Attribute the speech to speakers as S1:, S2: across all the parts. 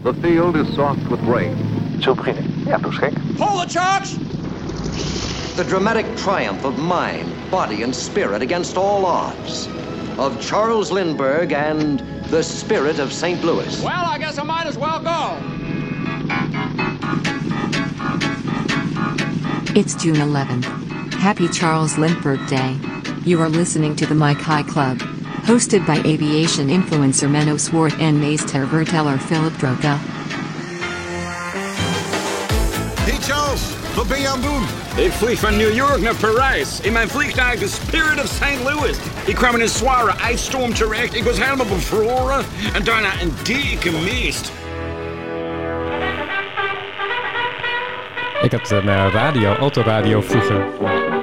S1: The field is soft with rain.
S2: Zullen we beginnen? Ja, doe gek.
S3: Hold the charge!
S4: The dramatic triumph of mind, body, and spirit against all odds. Of Charles Lindbergh and the spirit of St. Louis.
S3: Well, I guess I might as well go.
S5: It's June 11th. Happy Charles Lindbergh Day. You are listening to the Mike High Club. Hosted by aviation influencer Menno Swart and Maester Verteller Philip Droga.
S6: Hey Charles, wat ben je aan het doen?
S7: Ik vlieg van New York naar Parijs. In mijn vliegtuig de Spirit of St. Louis. Ik kwam in een zware ijsstorm terecht. Ik was helemaal bevroren. En daarna een dikke mist.
S8: Ik had een eh, radio, autoradio vroeger.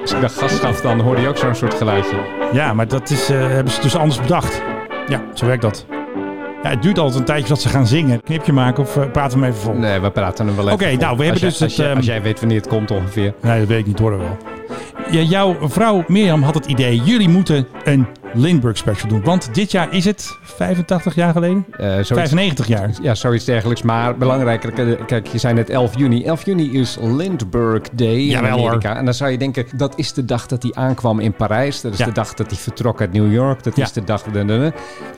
S8: Als ik dat gas gaf, dan hoorde je ook zo'n soort geluidje.
S9: Ja, maar dat is, eh, hebben ze dus anders bedacht. Ja, zo werkt dat. Ja, het duurt altijd een tijdje dat ze gaan zingen. Knipje maken of eh, praten we hem even vol.
S8: Nee, we praten hem wel even.
S9: Oké,
S8: voor.
S9: nou, we hebben
S8: Als jij-
S9: dus het,
S8: Als, jij-
S9: ehm,
S8: als jij weet wanneer het komt ongeveer.
S9: Nee, dat weet ik niet, hoor wel. Ja, jouw vrouw Mirjam had het idee, jullie moeten een Lindbergh special doen. Want dit jaar is het 85 jaar geleden?
S8: Eh, zoiets-
S9: 95 jaar.
S8: Ja, zoiets dergelijks. Maar belangrijker, eh, kijk, je zei net 11 juni. 11 juni is Lindbergh Day in
S9: Jawel, hoor.
S8: Amerika. En dan zou je denken, dat is de dag dat hij aankwam in Parijs. Dat is
S9: Ja.
S8: de dag dat hij vertrok uit New York. Dat
S9: Ja.
S8: is de dag... de- de- de-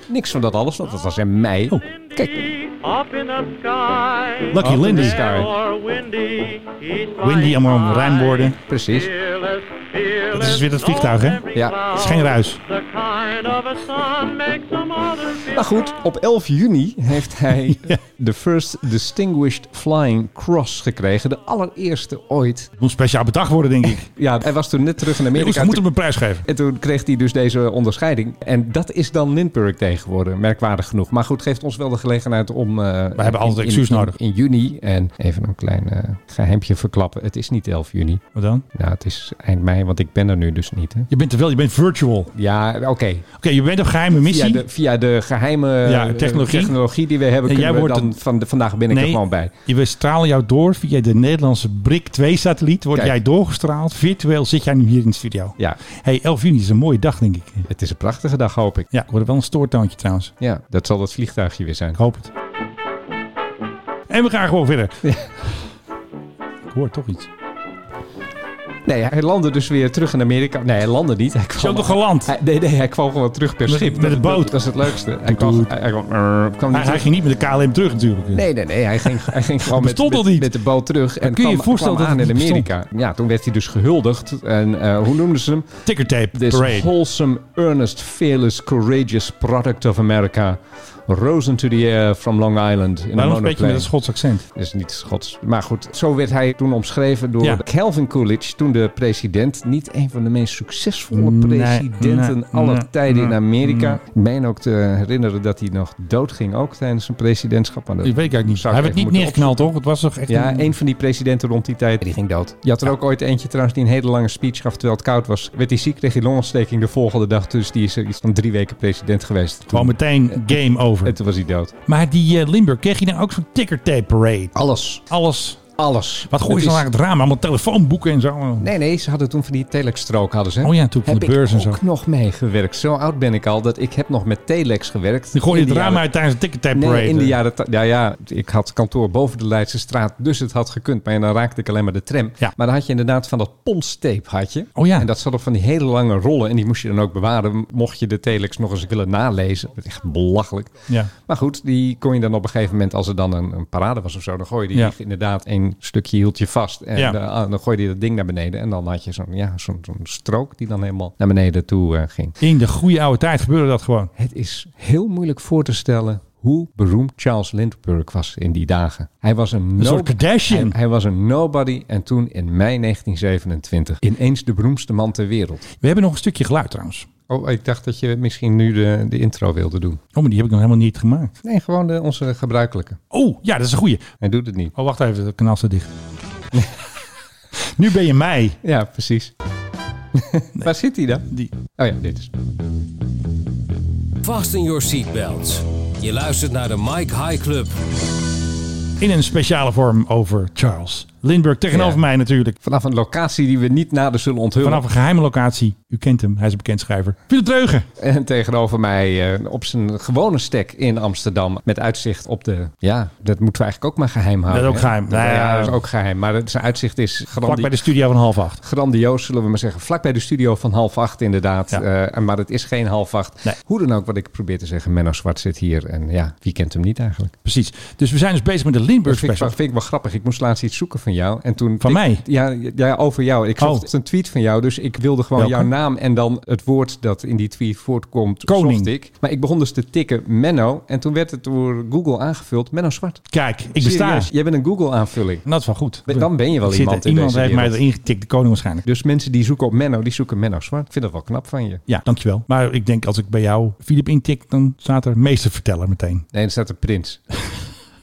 S8: Niks van dat alles, want dat was in mei.
S9: Oh.
S8: Kijk,
S10: Up in the sky,
S9: Lucky
S8: Oh,
S9: Lindy.
S8: dus daar.
S10: or windy, he's
S9: Windy, allemaal om rijmwoorden.
S8: precies.
S10: fearless,
S9: Dat
S10: fearless.
S9: is weer dat vliegtuig, hè?
S8: Ja.
S9: Het is geen ruis.
S10: The kind of a sun makes some others feel
S8: Nou goed, op 11 juni heeft hij de First Distinguished Flying Cross gekregen. De allereerste ooit.
S9: Het moet speciaal bedacht worden, denk ik.
S8: Ja, hij was toen net terug in
S9: Ik
S8: Amerika.
S9: moet hem een prijs geven.
S8: En toen kreeg hij dus deze onderscheiding. En dat is dan Lindbergh Day geworden, merkwaardig genoeg. Maar goed, geeft ons wel de gelegenheid om... We
S9: hebben altijd excuus nodig.
S8: In, juni, en even een klein eh geheimtje verklappen. Het is niet 11 juni.
S9: Wat dan?
S8: Nou, het is eind mei, want ik ben er nu dus niet. Hè?
S9: Je bent er wel, je bent virtual. Oké,
S8: Ja, oké.
S9: je bent op geheime
S8: Via
S9: missie.
S8: de, via de geheime
S9: Ja,
S8: eh,
S9: technologie.
S8: technologie die we hebben,
S9: En
S8: kunnen
S9: jij
S8: we
S9: wordt
S8: dan
S9: het-
S8: van de, vandaag ben ik er gewoon bij.
S9: we stralen jou door via de Nederlandse BRIC-2-satelliet. Word
S8: Kijk.
S9: jij doorgestraald. Virtueel zit jij nu hier in de studio.
S8: Ja,
S9: hey, 11 juni is een mooie dag, denk ik.
S8: het is een prachtige dag, hoop ik.
S9: Ja, ik hoorde wel een stoortoontje trouwens.
S8: Ja, dat zal dat vliegtuigje weer zijn.
S9: Ik hoop het. En we gaan gewoon verder. Ik hoor toch iets.
S8: Nee, hij landde dus weer terug in Amerika. Nee, hij landde niet. Hij kwam
S9: Zo nog geland.
S8: Hij- nee, nee, hij kwam gewoon terug per
S9: Met-
S8: schip.
S9: met een
S8: Dat-
S9: boot.
S8: Dat, dat is het leukste. Hij kwam,
S9: Doet.
S8: hij, hij kwam, eh, kwam niet
S9: Hij, hij
S8: terug.
S9: ging niet met de KLM terug natuurlijk.
S8: Nee, nee, nee. Hij ging, hij ging gewoon met,
S9: bestond
S8: met,
S9: al niet.
S8: met de boot terug. En
S9: kun je je
S8: kwam,
S9: voorstellen
S8: kwam
S9: dat
S8: aan
S9: het
S8: in
S9: niet
S8: Amerika. Ja, toen werd hij dus gehuldigd. En eh, hoe noemden ze hem?
S9: Ticker tape
S8: This
S9: parade.
S8: wholesome, earnest, fearless, courageous product of America. Rose into the air from Long Island. In
S9: Waarom
S8: een
S9: spreek je met
S8: monoplane.
S9: een Schots accent?
S8: Dat is niet Schots. Maar goed, zo werd hij toen omschreven door
S9: Ja.
S8: Calvin Coolidge, toen de president. Niet een van de meest succesvolle
S9: Nee,
S8: presidenten
S9: nee,
S8: aller
S9: nee,
S8: tijden in
S9: nee,
S8: Amerika. Ik meen ook te herinneren dat hij nog doodging ook tijdens zijn presidentschap. Maar dat
S9: Ik weet het eigenlijk niet. Hij
S8: zou ik
S9: werd
S8: even
S9: niet
S8: moeten
S9: neergeknald, toch? Het was toch echt
S8: ja,
S9: een-
S8: een van die presidenten rond die tijd, die ging dood. Je had er ook ooit eentje trouwens die een hele lange speech gaf terwijl het koud was. Werd hij ziek, kreeg hij longontsteking de volgende dag. Dus die is er iets van drie weken president geweest. Toen-
S9: Gewoon meteen game
S8: En
S9: over.
S8: toen was hij dood.
S9: Maar die eh, Limburg, kreeg je nou ook zo'n ticker tape parade?
S8: Alles.
S9: Alles.
S8: Alles.
S9: Wat gooi je
S8: Het
S9: dan
S8: is-
S9: aan het raam? Allemaal telefoonboeken en zo.
S8: Nee, nee, ze hadden toen van die telexstrook hadden ze.
S9: Oh ja, toen van de
S8: Heb
S9: beurs en
S8: ik
S9: zo.
S8: ook nog meegewerkt. Zo oud ben ik al dat ik heb nog met telex gewerkt.
S9: Die gooi je
S8: In
S9: het
S8: de
S9: raam
S8: jaren-
S9: uit tijdens de ticker tape parade.
S8: Nee, in de jaren... ta- Ja, ja, ik had kantoor boven de Leidse straat, dus het had gekund. Maar dan raakte ik alleen maar de tram.
S9: Ja.
S8: Maar dan had je inderdaad van dat ponstape had je.
S9: Oh ja.
S8: En dat zat op van die hele lange rollen. En die moest je dan ook bewaren, mocht je de telex nog eens willen nalezen. Dat is echt belachelijk.
S9: Ja.
S8: Maar goed, die kon je dan op een gegeven moment, als er dan een, een parade was of zo, dan gooide je
S9: Ja.
S8: die inderdaad een stukje hield je vast. En
S9: Ja.
S8: eh, dan gooide je dat ding naar beneden. En dan had je zo'n ja, zo'n zo'n strook die dan helemaal naar beneden toe eh, ging.
S9: In de goede oude tijd gebeurde dat gewoon.
S8: Het is heel moeilijk voor te stellen hoe beroemd Charles Lindbergh was in die dagen. Hij was een, no-
S9: soort Kardashian.
S8: Hij, hij was een nobody en toen in mei 1927 ineens de beroemdste man ter wereld.
S9: We hebben nog een stukje geluid trouwens.
S8: Oh, ik dacht dat je misschien nu de, de intro wilde doen.
S9: Oh, maar die heb ik nog helemaal niet gemaakt.
S8: Nee, gewoon de, onze gebruikelijke.
S9: Oh, ja, dat is een goeie.
S8: Hij doet het niet.
S9: Oh, wacht even, de kanaal staat dicht. nu ben je mij.
S8: Ja, precies. Waar zit hij dan?
S9: Die.
S8: Oh ja, dit is.
S3: Vast in your seatbelts. Je luistert naar de Mike High Club.
S9: In een speciale vorm over Charles Lindbergh tegenover mij natuurlijk.
S8: Vanaf een locatie die we niet nader zullen onthullen.
S9: Vanaf een geheime locatie. U kent hem, hij is een bekend schrijver. Philip Dreugen.
S8: En tegenover mij eh, op zijn gewone stek in Amsterdam. Met uitzicht op de... Ja, dat moeten we eigenlijk ook maar geheim houden.
S9: Dat is ook
S8: hè?
S9: geheim.
S8: Dat,
S9: Nou ja.
S8: ja, dat is ook geheim. Maar het- zijn uitzicht is
S9: Vlak
S8: grandi
S9: bij de studio van half acht.
S8: grandioos, zullen we maar zeggen. Vlak bij de studio van half acht inderdaad.
S9: Ja.
S8: Eh, en maar het is geen half acht.
S9: Nee.
S8: Hoe dan ook, wat ik probeer te zeggen. Menno Zwart zit hier. En ja, wie kent hem niet eigenlijk?
S9: Precies. Dus we zijn dus bezig met de Lindbergh
S8: Dat vind ik, wel-
S9: special.
S8: vind ik wel grappig. Ik moest laatst iets zoeken van jou. En toen
S9: Van
S8: ik-
S9: mij?
S8: Ja, ja, over jou. Ik zocht
S9: Oh.
S8: een tweet van jou. Dus ik wilde gewoon
S9: Welke?
S8: jouw naam en dan het woord dat in die tweet voortkomt.
S9: Koning.
S8: zocht ik. Maar ik begon dus te tikken Menno. En toen werd het door Google aangevuld. Menno Zwart.
S9: Kijk, ik besta. dus.
S8: Serieus, jij bent een Google aanvulling.
S9: En dat is wel goed.
S8: Dan ben je wel
S9: Ik zit-
S8: iemand in
S9: Iemand
S8: deze
S9: heeft mij
S8: wereld.
S9: erin getikt, de koning waarschijnlijk.
S8: Dus mensen die zoeken op Menno, die zoeken Menno Zwart. Ik vind dat wel knap van je.
S9: Ja, dankjewel. Maar ik denk als ik bij jou Philip intik, dan staat er meesterverteller meteen.
S8: Nee, er staat de prins.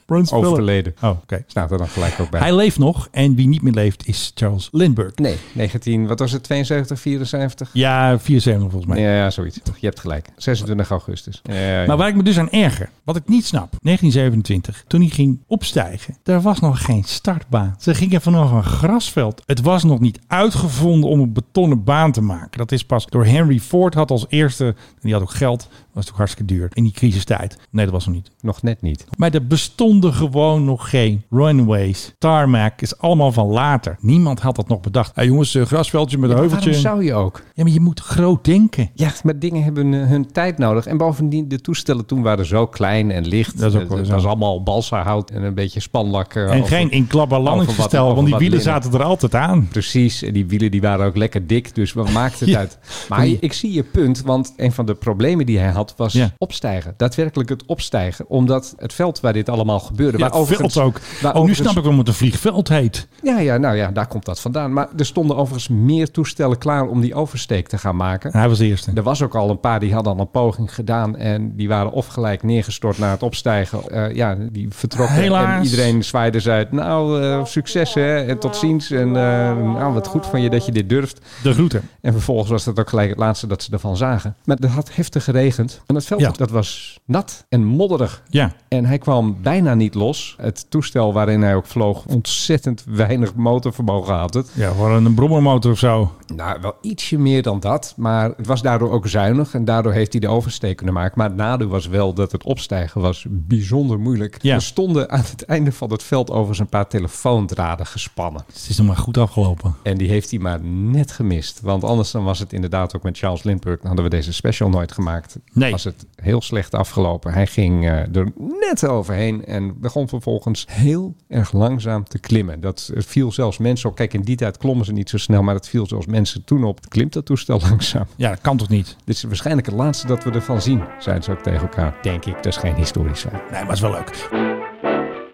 S9: Prins Philip.
S8: Overleden.
S9: Oh, oké.
S8: Staat er dan gelijk ook bij.
S9: Hij leeft nog en wie niet meer leeft is Charles Lindbergh.
S8: Nee, 19, wat was het, 72, 74?
S9: Ja, 74 volgens mij.
S8: Ja, ja, zoiets. Je hebt gelijk. 26 augustus. Ja, ja, ja.
S9: Maar waar ik me dus aan erger, wat ik niet snap, 1927, toen hij ging opstijgen, er was nog geen startbaan. Ze gingen vanaf een grasveld. Het was nog niet uitgevonden om een betonnen baan te maken. Dat is pas door Henry Ford had als eerste, en die had ook geld, was toch hartstikke duur in die crisistijd. Nee, dat was nog niet.
S8: Nog net niet.
S9: Maar er bestonden gewoon nog geen runways. Tarmac is allemaal van later. Niemand had dat nog bedacht. Hé jongens, eh, grasveldje met een heuveltje.
S8: Waarom zou je ook?
S9: Ja, maar je moet groot denken.
S8: Ja, maar dingen hebben eh, hun tijd nodig. En bovendien, de toestellen toen waren zo klein en licht.
S9: Dat is ook
S8: Eh,
S9: wel
S8: Het
S9: zo.
S8: was allemaal balsahout en een beetje spanlak. eh,
S9: En
S8: over-
S9: geen inklapbaar
S8: over
S9: landingsgestel,
S8: wat-
S9: want die
S8: over
S9: wielen
S8: wat linnen.
S9: zaten er altijd aan.
S8: Precies, en die wielen die waren ook lekker dik, dus wat maakt het
S9: Ja.
S8: uit? Maar je- ik zie je punt, want een van de problemen die hij had was
S9: Ja.
S8: opstijgen. Daadwerkelijk het opstijgen, omdat het veld waar dit allemaal gebeurde...
S9: Ja,
S8: waar
S9: het veld ook.
S8: waar
S9: Oh, nu
S8: overigens-
S9: snap ik waarom het een vliegveld heet.
S8: Ja, ja, nou ja, daar komt dat vandaan. Maar er stonden overigens meer toestellen klaar om die oversteek te gaan maken.
S9: Hij was de eerste.
S8: Er was ook al een paar die hadden al een poging gedaan en die waren of gelijk neergestort na het opstijgen. Eh, ja, die vertrokken en
S9: Helaas.
S8: iedereen zwaaide ze uit. Nou, eh, succes hè en tot ziens en eh, nou, wat goed van je dat je dit durft.
S9: De groeten.
S8: En vervolgens was dat ook gelijk het laatste dat ze ervan zagen. Maar het had heftig geregend en het veld
S9: Ja.
S8: dat was nat en modderig.
S9: Ja.
S8: En hij kwam bijna niet los. Het toestel waarin hij ook vloog, ontzettend weinig motorvermogen had het.
S9: Ja, voor een brommermotor of zo.
S8: Nou, wel ietsje meer dan dat. Maar het was daardoor ook zuinig. En daardoor heeft hij de oversteek kunnen maken. Maar het nadeel was wel dat het opstijgen was bijzonder moeilijk.
S9: Ja.
S8: Er stonden aan het einde van het veld overigens een paar telefoondraden gespannen.
S9: Het is nog maar goed afgelopen.
S8: En die heeft hij maar net gemist. Want anders dan was het inderdaad ook met Charles Lindbergh. Dan hadden we deze special nooit gemaakt.
S9: Nee.
S8: Was het heel slecht afgelopen. Hij ging eh, er net overheen. En begon vervolgens heel erg langzaam te klimmen. Dat eh, viel zelfs mensen op. Kijk, in die tijd klommen ze niet zo snel. Maar dat viel zelfs mensen toen op. Klimt dat toestel langzaam.
S9: Ja, dat kan toch niet?
S8: Dit is waarschijnlijk het laatste dat we ervan zien. Zijn ze ook tegen elkaar. Denk ik. Dat is geen historisch feit.
S9: Nee, maar het is wel leuk.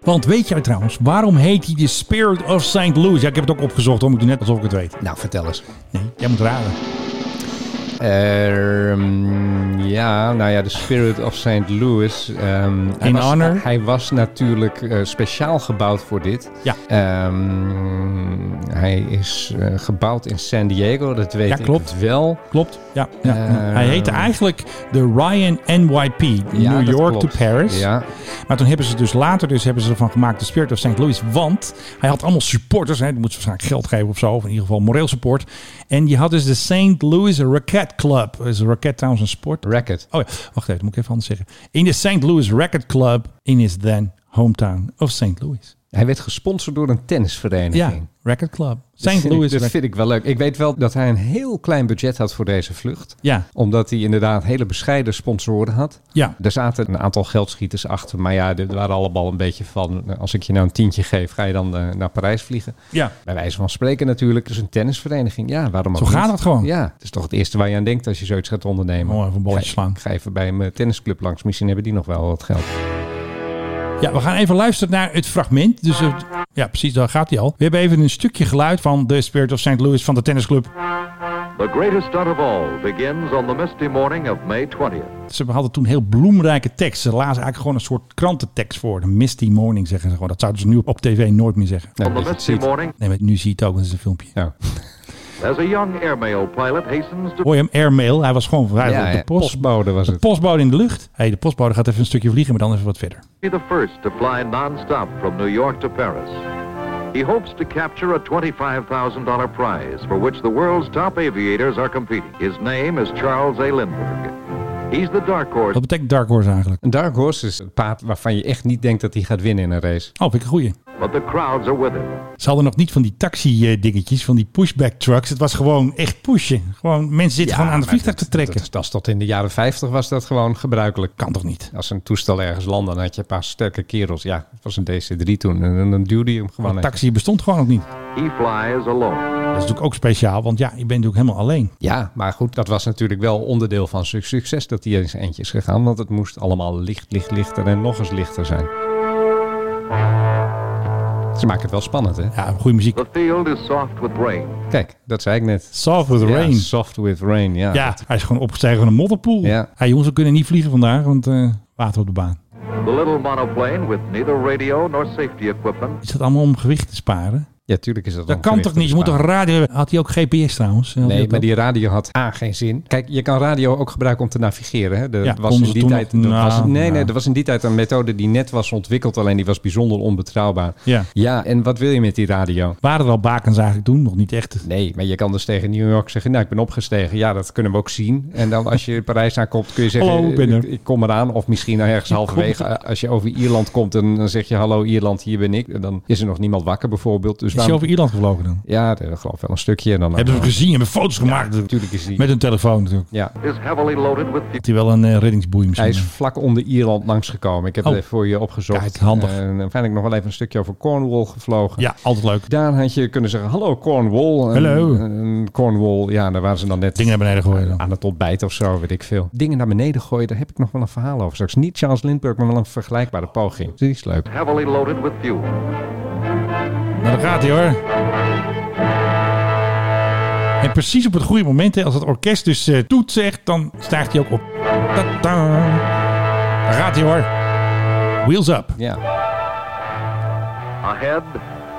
S9: Want weet jij trouwens, waarom heet hij de Spirit of St. Louis? Ja, ik heb het ook opgezocht, hoor. Ik doe net alsof ik het weet.
S8: Nou, vertel eens.
S9: Nee, jij moet raden.
S8: Ehm, ja, nou ja, de Spirit of St. Louis. ehm, hij
S9: In
S8: was,
S9: honor?
S8: Hij was natuurlijk eh, speciaal gebouwd voor dit.
S9: Ja.
S8: Ehm, hij is eh, gebouwd in San Diego, dat weet
S9: Ja, klopt.
S8: ik wel.
S9: Klopt. Ja. ja.
S8: Eh,
S9: hij heette eigenlijk de Ryan NYP.
S8: Ja,
S9: New
S8: dat
S9: York
S8: klopt.
S9: to Paris.
S8: Ja.
S9: Maar toen hebben ze dus later dus hebben ze ervan gemaakt de Spirit of St. Louis. Want hij had allemaal supporters. Hij moest waarschijnlijk geld geven of zo. Of in ieder geval moreel support. En je had dus de St. Louis Racquet Club. Dat is een racket trouwens een sport.
S8: Racket.
S9: Oh ja, wacht even. Dat moet ik even anders zeggen. In de St. Louis Racquet Club in his then hometown of St. Louis.
S8: Hij werd gesponsord door een tennisvereniging.
S9: Ja, Racquet Club.
S8: Dat
S9: St.
S8: vind ik-
S9: Louis
S8: Dat
S9: Racquet-
S8: vind ik wel leuk. Ik weet wel dat hij een heel klein budget had voor deze vlucht.
S9: Ja.
S8: Omdat hij inderdaad hele bescheiden sponsoren had.
S9: Ja.
S8: Er zaten een aantal geldschieters achter. Maar ja, er waren allemaal een beetje van... nou, als ik je nou een tientje geef, ga je dan eh, naar Parijs vliegen?
S9: Ja.
S8: Bij wijze van spreken natuurlijk. Dus een tennisvereniging. Ja, waarom ook
S9: Zo gaat
S8: niet?
S9: dat gewoon.
S8: Ja, het is toch het eerste waar je aan denkt als je zoiets gaat ondernemen.
S9: Oh, even een balletje
S8: Ga-
S9: slaan.
S8: Ga even bij mijn tennisclub langs. Misschien hebben die nog wel wat geld. Nou,
S9: Ja, we gaan even luisteren naar het fragment. Dus het- ja, precies, daar gaat hij al. We hebben even een stukje geluid van de Spirit of St. Louis van de tennisclub.
S1: The greatest stunt of all begins on the misty morning of May 20th.
S9: Ze hadden toen heel bloemrijke tekst. Ze lazen eigenlijk gewoon een soort krantentekst voor. De Misty Morning zeggen ze gewoon. Dat zouden ze nu op tv nooit meer zeggen.
S8: Nou,
S1: On the
S8: dat je het
S1: misty
S8: ziet.
S1: morning,
S9: Nee, maar nu zie je het ook, want het is een filmpje.
S8: Ja.
S1: as a young airmail pilot hastens to
S9: Hoor je hem? Airmail. Hij was gewoon hij was
S8: Ja,
S9: op de
S8: ja,
S9: post.
S8: postbode was
S9: De
S8: het.
S9: postbode in de lucht. hey, de postbode gaat even een stukje vliegen, maar dan even wat verder.
S1: be the first to fly nonstop from New York to Paris. He hopes to capture a $25,000 prize for which the world's top aviators are competing. His name is Charles A. Lindbergh. He's the dark horse
S9: Wat betekent Dark Horse eigenlijk?
S8: Een dark horse is het paard waarvan je echt niet denkt dat hij gaat winnen in een race.
S9: Oh, vind ik een goeie.
S1: But the crowds are with him.
S9: Ze hadden nog niet van die taxi-dingetjes, van die pushback trucks. Het was gewoon echt pushen. Gewoon, mensen zitten gewoon aan het
S8: maar
S9: vliegtuig
S8: dat-
S9: te trekken.
S8: Dat, is- dat is tot in de jaren 50 was dat gewoon gebruikelijk.
S9: kan toch niet?
S8: Als een toestel ergens landde, dan had je een paar sterke kerels. Ja, het was een DC-3 toen. En, dan- dan duwde je hem gewoon.
S9: Want
S8: even.
S9: taxi bestond gewoon nog niet. Dat
S1: He flies alone.
S9: is natuurlijk ook speciaal, want ja, ik ben natuurlijk helemaal alleen.
S8: Ja, maar goed, dat was natuurlijk wel onderdeel van zijn succes dat hij eens eentje is gegaan. Want het moest allemaal licht, licht, lichter en nog eens lichter zijn. Ze maken het wel spannend, hè?
S9: Ja, goede muziek.
S1: The field is soft with rain.
S8: Kijk, dat zei ik net.
S9: Soft with
S8: Ja,
S9: Rain.
S8: soft with rain, ja.
S9: Ja, hij is gewoon opgestegen van een modderpoel.
S8: Ja.
S9: Hey, jongens, we kunnen niet vliegen vandaag, want eh, water op de baan.
S1: The little monoplane with neither radio nor safety equipment
S9: Is dat allemaal om gewicht te sparen?
S8: Ja, tuurlijk is dat
S9: Dat
S8: om
S9: kan
S8: gewicht
S9: toch
S8: te
S9: niet? Je moet toch
S8: besparen.
S9: radio hebben? Had hij ook GPS trouwens? Had hij
S8: Nee,
S9: dat
S8: maar
S9: ook?
S8: die radio had A geen zin. Kijk, je kan radio ook gebruiken om te navigeren. Hè? De,
S9: Ja,
S8: was
S9: konden
S8: in
S9: ze
S8: die
S9: toen
S8: tijd,
S9: nog?
S8: dat was,
S9: Nou,
S8: nee,
S9: nou.
S8: nee, dat was in die tijd een methode die net was ontwikkeld, alleen die was bijzonder onbetrouwbaar.
S9: Ja.
S8: ja, en wat wil je met die radio?
S9: Waren er al bakens eigenlijk toen? Nog niet echt.
S8: Nee, maar je kan dus tegen New York zeggen, nou, ik ben opgestegen. Ja, dat kunnen we ook zien. En dan als je in Parijs aankomt, kun je zeggen,
S9: Hallo, ik ben er.
S8: Ik, ik kom eraan. Of misschien ergens halverwege. eh, Als je over Ierland komt, dan, dan zeg je, hallo Ierland, hier ben ik. En dan is er nog niemand wakker bijvoorbeeld. Dus
S9: Is hij
S8: waarom-
S9: over Ierland gevlogen dan?
S8: Ja, dat geloof ik wel een stukje. En dan
S9: Hebben ze hem gezien? Hebben foto's gemaakt?
S8: natuurlijk is hij...
S9: Met een telefoon natuurlijk.
S8: Ja,
S1: is heavily loaded with fuel.
S9: Had hij wel een eh, reddingsboei misschien?
S8: Hij is vlak onder Ierland langsgekomen. Ik heb
S9: Oh.
S8: het even voor je opgezocht.
S9: Kijk, handig.
S8: En dan ben ik nog wel even een stukje over Cornwall gevlogen.
S9: Ja, altijd leuk.
S8: Daar had je kunnen zeggen, hallo Cornwall. En-
S9: Hallo.
S8: en Cornwall, ja, daar waren ze dan net
S9: Dingen naar beneden gooien dan.
S8: aan het ontbijt of zo, weet ik veel. Dingen naar beneden gooien, daar heb ik nog wel een verhaal over. Straks niet Charles Lindbergh, maar wel een vergelijkbare poging. Die is leuk.
S1: Heavily loaded with fuel.
S9: Nou, daar gaat hij hoor. En precies op het goede moment, hè, als het orkest dus eh toet zegt, dan stijgt hij ook op. Ta-ta. Daar gaat hij hoor. Wheels up.
S8: Ja,
S1: Ahead,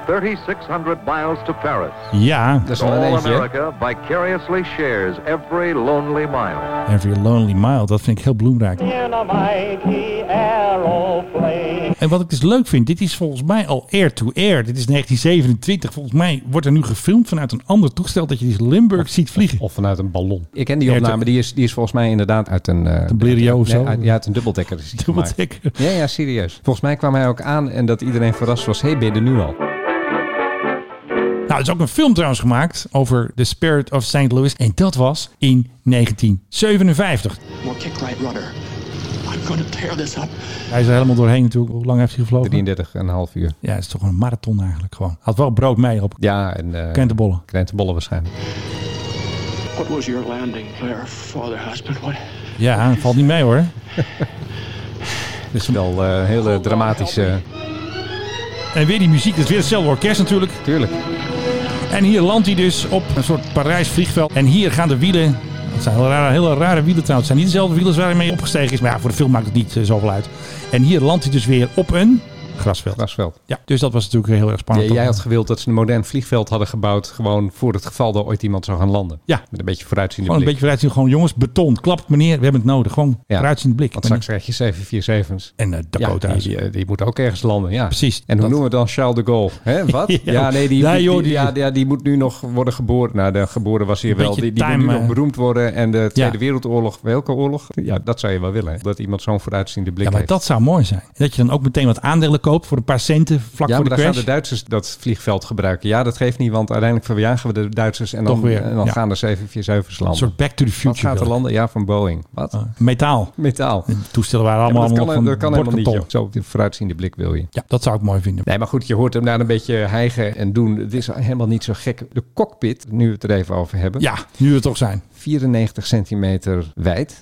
S1: 3,600 miles to Paris.
S9: Ja,
S8: dat is wel een
S1: All
S8: eentje. hè?
S1: America vicariously shares every lonely mile.
S9: Every Lonely Mile, dat vind ik heel bloemrijk.
S10: In a mighty aeroplane.
S9: En wat ik dus leuk vind, dit is volgens mij al air to air. Dit is 1927. Volgens mij wordt er nu gefilmd vanuit een ander toestel dat je die Limburg ziet vliegen.
S8: Of vanuit een ballon. Ik ken die
S9: Ja,
S8: opname, die is, die is volgens mij inderdaad uit een... eh,
S9: Een Blériot of
S8: nee,
S9: zo.
S8: uit- ja, uit een dubbeldekker. is die gemaakt.
S9: Dubbeldekker.
S8: Ja, ja, serieus. Volgens mij kwam hij ook aan en dat iedereen verrast was. hey, ben je er nu al?
S9: Nou, er is ook een film trouwens gemaakt over The Spirit of St. Louis. En dat was in 1957.
S11: More kick right rudder. I'm going to tear this up.
S9: Hij is er helemaal doorheen natuurlijk. Hoe lang heeft hij gevlogen?
S8: 33,5 uur.
S9: Ja, het is toch een marathon eigenlijk gewoon. Had wel brood mee op
S8: Ja, en eh
S9: kentenbollen.
S8: krentenbollen waarschijnlijk.
S11: What was your landing, Claire, father, husband? What?
S9: Ja, valt niet mee hoor.
S8: Het is wel eh, een hele dramatische...
S9: En weer die muziek. Dat is weer hetzelfde orkest natuurlijk.
S8: Tuurlijk.
S9: En hier landt hij dus op een soort Parijs vliegveld. En hier gaan de wielen. Dat zijn hele rare, hele rare wielen trouwens. Het zijn niet dezelfde wielen waar hij mee opgestegen is. Maar ja, voor de film maakt het niet eh, zoveel uit. En hier landt hij dus weer op een grasveld.
S8: Grasveld.
S9: Ja, dus dat was natuurlijk heel erg
S8: Ja,
S9: spannend.
S8: jij had gewild dat ze een modern vliegveld hadden gebouwd. Gewoon voor het geval dat ooit iemand zou gaan landen.
S9: Ja.
S8: Met een beetje vooruitziende
S9: gewoon een
S8: blik.
S9: beetje vooruit zien. Gewoon jongens, beton. Klap het meneer. We hebben het nodig. Gewoon
S8: Ja.
S9: vooruitziend blik. eh,
S8: Want straks krijg je 747's.
S9: En eh,
S8: Ja,
S9: Dakota.
S8: die, die, eh, die moet ook ergens landen. Ja.
S9: Precies.
S8: En hoe
S9: Dat-
S8: noemen we dan Charles de Gaulle? Hè, wat?
S9: Ja.
S8: ja. nee, die,
S9: Nee,
S8: die-
S9: joh,
S8: die-
S9: die-
S8: ja, ja, die moet nu nog worden geboren. Nou, de geboren was hier wel.
S9: beetje
S8: Die, die moet
S9: time,
S8: nu
S9: eh.
S8: nog beroemd worden. En de Tweede
S9: Ja.
S8: Wereldoorlog, welke oorlog? Ja, dat zou je wel willen. hè. Dat iemand zo'n vooruitziende blik
S9: ja, maar
S8: heeft.
S9: dat zou mooi zijn. En dat je dan ook meteen wat aandelen koopt voor een paar centen vlak
S8: ja,
S9: voor
S8: maar
S9: de
S8: dan gaan
S9: crash.
S8: de Duitsers dat vliegveld gebruiken. Ja, dat geeft niet, want uiteindelijk verjagen we de Duitsers en dan,
S9: Toch weer,
S8: en dan
S9: ja.
S8: gaan er 747's
S9: Een
S8: landen.
S9: soort back to the
S8: Wat
S9: future.
S8: gaat er
S9: wil ik.
S8: landen? Ja, van Boeing. Wat?
S9: Ah, Metaal.
S8: Metaal. Ja,
S9: De toestellen waren
S8: maar
S9: allemaal
S8: dat kan,
S9: nog van
S8: dat kan helemaal niet.
S9: bordkarton.
S8: joh. Zo op die vooruitziende blik wil je.
S9: Ja, dat zou ik mooi vinden.
S8: Nee, maar goed, je hoort hem daar een beetje hijgen en doen. Het is helemaal niet zo gek. De cockpit, nu we het er even over hebben.
S9: Ja, nu we het toch zijn.
S8: 94 centimeter wijd,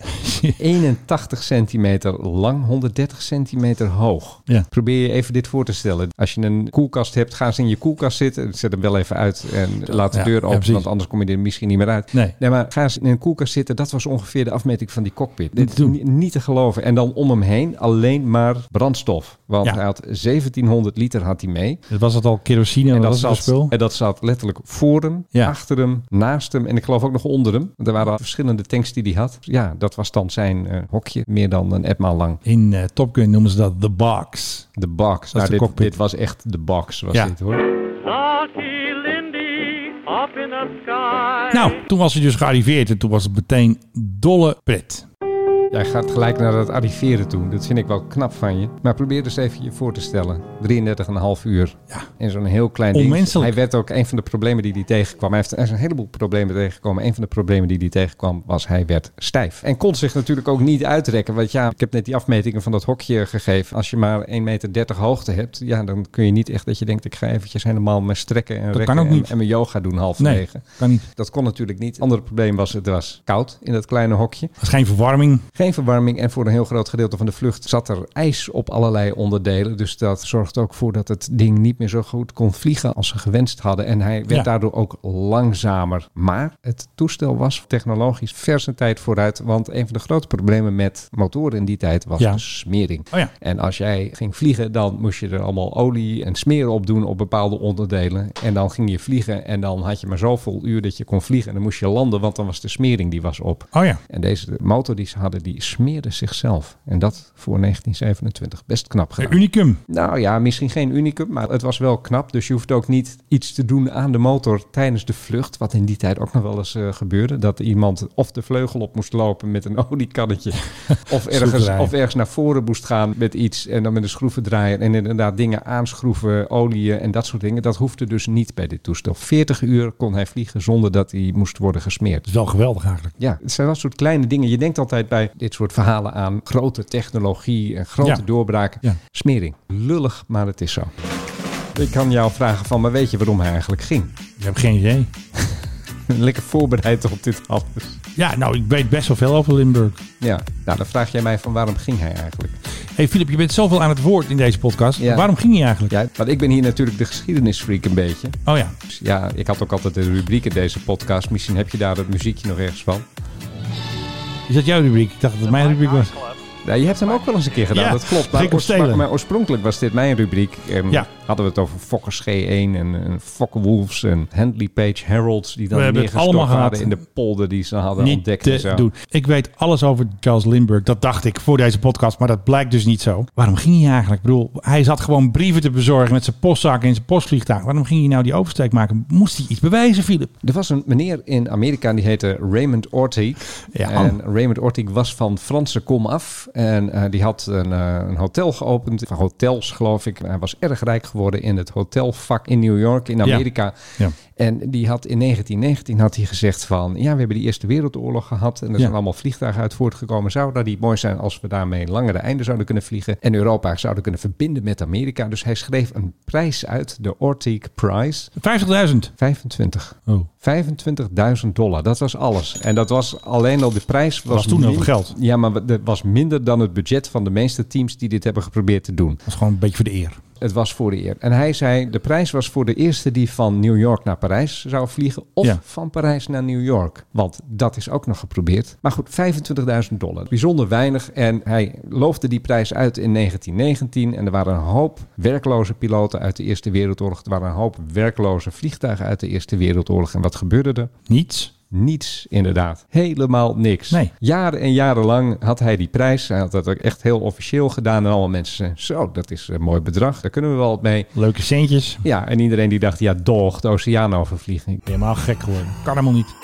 S8: 81 centimeter lang, 130 centimeter hoog.
S9: Ja.
S8: Probeer je even dit voor te stellen. Als je een koelkast hebt, ga eens in je koelkast zitten. Zet hem wel even uit en laat de
S9: Ja,
S8: deur
S9: ja,
S8: open,
S9: precies.
S8: want anders kom je er misschien niet meer uit.
S9: Nee.
S8: maar ga eens in een koelkast zitten. Dat was ongeveer de afmeting van die cockpit. Dit
S9: Niet te
S8: is
S9: doen.
S8: ni- niet te geloven. En dan om hem heen alleen maar brandstof. Want
S9: Ja.
S8: hij had 1700 liter had hij mee.
S9: Dat was het al kerosine en
S8: En
S9: dat
S8: dat,
S9: was het
S8: zat,
S9: spul.
S8: en dat zat letterlijk voor hem,
S9: Ja.
S8: achter hem, naast hem en ik geloof ook nog onder hem. Want Er waren verschillende tanks die hij had. Ja, dat was dan zijn eh, hokje, meer dan een etmaal lang.
S9: In eh, Top Gun noemen ze dat The Box.
S8: De box.
S9: de
S8: Nou, dit,
S9: cockpit.
S8: dit was echt de box, was
S9: Ja.
S8: dit hoor.
S10: Lucky Lindy up in the sky.
S9: Nou, toen was hij dus gearriveerd en toen was het meteen dolle pret.
S8: Jij gaat gelijk naar dat arriveren toe. Dat vind ik wel knap van je. Maar probeer dus even je voor te stellen. 33,5 uur. Ja. In zo'n heel klein ding.
S9: Onmenselijk.
S8: Hij werd ook een van de problemen die hij tegenkwam. Hij heeft er is een heleboel problemen tegengekomen. Een van de problemen die hij tegenkwam was hij werd stijf. En kon zich natuurlijk ook niet uitrekken. Want ja, ik heb net die afmetingen van dat hokje gegeven. Als je maar 1,30 meter hoogte hebt. Ja, dan kun je niet echt dat je denkt ik ga eventjes helemaal me strekken en
S9: Dat
S8: rekken
S9: kan ook
S8: en-
S9: niet.
S8: En, mijn yoga doen halverwege.
S9: Nee, kan niet.
S8: Dat kon natuurlijk niet. Het andere probleem was het was koud in dat kleine hokje.
S9: Dat is geen verwarming.
S8: Geen verwarming en voor een heel groot gedeelte van de vlucht zat er ijs op allerlei onderdelen. Dus dat zorgde ook voor dat het ding niet meer zo goed kon vliegen als ze gewenst hadden. En hij werd
S9: Ja.
S8: daardoor ook langzamer. Maar het toestel was technologisch vers een tijd vooruit. Want een van de grote problemen met motoren in die tijd was
S9: Ja.
S8: de smering.
S9: Oh ja.
S8: En als jij ging vliegen, dan moest je er allemaal olie en smeren op doen op bepaalde onderdelen. En dan ging je vliegen en dan had je maar zoveel uur dat je kon vliegen. En dan moest je landen, want dan was de smering die was op.
S9: Oh ja.
S8: En deze motor die ze hadden, die smeerde zichzelf. En dat voor 1927. Best knap gedaan.
S9: Een unicum.
S8: Nou ja, misschien geen unicum, maar het was wel knap. Dus je hoeft ook niet iets te doen aan de motor tijdens de vlucht. Wat in die tijd ook nog wel eens eh, gebeurde. Dat iemand of de vleugel op moest lopen met een oliekannetje. of, ergens,
S9: Schroevendraaier.
S8: of ergens naar voren moest gaan met iets. En dan met een schroevendraaier. En inderdaad dingen aanschroeven, olieën en dat soort dingen. Dat hoefde dus niet bij dit toestel. 40 uur kon hij vliegen zonder dat hij moest worden gesmeerd.
S9: Dat is wel geweldig eigenlijk.
S8: Ja, het zijn dat soort kleine dingen. Je denkt altijd bij dit soort verhalen aan grote technologie en grote
S9: Ja.
S8: doorbraken.
S9: Ja.
S8: Smering. Lullig, maar het is zo. Ik kan jou vragen van, maar weet je waarom hij eigenlijk ging?
S9: Ik heb geen idee.
S8: Lekker voorbereid op dit alles.
S9: Ja, nou, ik weet best wel veel over Limburg.
S8: Ja, nou dan vraag jij mij van waarom ging hij eigenlijk?
S9: hey, Filip, je bent zoveel aan het woord in deze podcast.
S8: Ja.
S9: Waarom ging je eigenlijk?
S8: Ja, want ik ben hier natuurlijk de geschiedenisfreak een beetje.
S9: Oh ja.
S8: Dus ja, ik had ook altijd de rubriek in deze podcast. Misschien heb je daar het muziekje nog ergens van.
S9: Is dat jouw rubriek? Ik dacht dat het mijn rubriek was.
S8: Nou, je hebt hem ook wel eens een keer gedaan,
S9: Ja,
S8: dat klopt.
S9: ging
S8: Maar,
S9: hem stelen.
S8: maar oorspronkelijk was dit mijn rubriek. En
S9: Ja.
S8: Hadden we het over Fokkers G1 en, en Fokker Wolves en Handley Page Heralds... die dan
S9: We hebben het
S8: neergestort
S9: allemaal
S8: waren in
S9: gehad.
S8: de polder die ze hadden
S9: Niet
S8: ontdekt. en
S9: te
S8: zo.
S9: doen. Ik weet alles over Charles Lindbergh. Dat dacht ik voor deze podcast, maar dat blijkt dus niet zo. Waarom ging hij eigenlijk? Ik bedoel, hij zat gewoon brieven te bezorgen met zijn postzakken en zijn postvliegtuig. Waarom ging hij nou die oversteek maken? Moest hij iets bewijzen, Filip?
S8: Er was een meneer in Amerika die heette Raymond Ortig.
S9: Ja.
S8: En Raymond Ortig was van Franse komaf. En eh, die had een, eh, een hotel geopend. Van hotels, geloof ik. Hij was erg rijk geworden in het hotelvak in New York, in
S9: Ja.
S8: Amerika.
S9: Ja.
S8: En die had in 1919 had hij gezegd van... Ja, we hebben de Eerste Wereldoorlog gehad. En er
S9: Ja.
S8: zijn allemaal vliegtuigen uit voortgekomen. Zou dat niet mooi zijn als we daarmee langere einden zouden kunnen vliegen? En Europa zouden kunnen verbinden met Amerika. Dus hij schreef een prijs uit, de Ortig Prize.
S9: 50.000.
S8: 25.
S9: Oh.
S8: 25.000 dollar, dat was alles. En dat was alleen al de prijs. Was,
S9: Was toen heel
S8: min-
S9: veel geld.
S8: Ja, maar dat was minder dan het budget van de meeste teams die dit hebben geprobeerd te doen.
S9: Dat is gewoon een beetje voor de eer.
S8: Het was voor de eer. En hij zei, de prijs was voor de eerste die van New York naar Parijs zou vliegen. Of
S9: Ja.
S8: van Parijs naar New York. Want dat is ook nog geprobeerd. Maar goed, 25.000 dollar. Bijzonder weinig. En hij loofde die prijs uit in 1919. En er waren een hoop werkloze piloten uit de Eerste Wereldoorlog. Er waren een hoop werkloze vliegtuigen uit de Eerste Wereldoorlog. En wat gebeurde er?
S9: Niets.
S8: Niets, inderdaad. Helemaal niks.
S9: Nee.
S8: Jaren en jaren lang had hij die prijs. Hij had dat ook echt heel officieel gedaan. En allemaal mensen zeiden, zo, dat is een mooi bedrag. Daar kunnen we wel wat mee.
S9: Leuke centjes.
S8: Ja, en iedereen die dacht, ja, dog, de oceaan overvliegen.
S9: Helemaal gek geworden. Kan helemaal niet.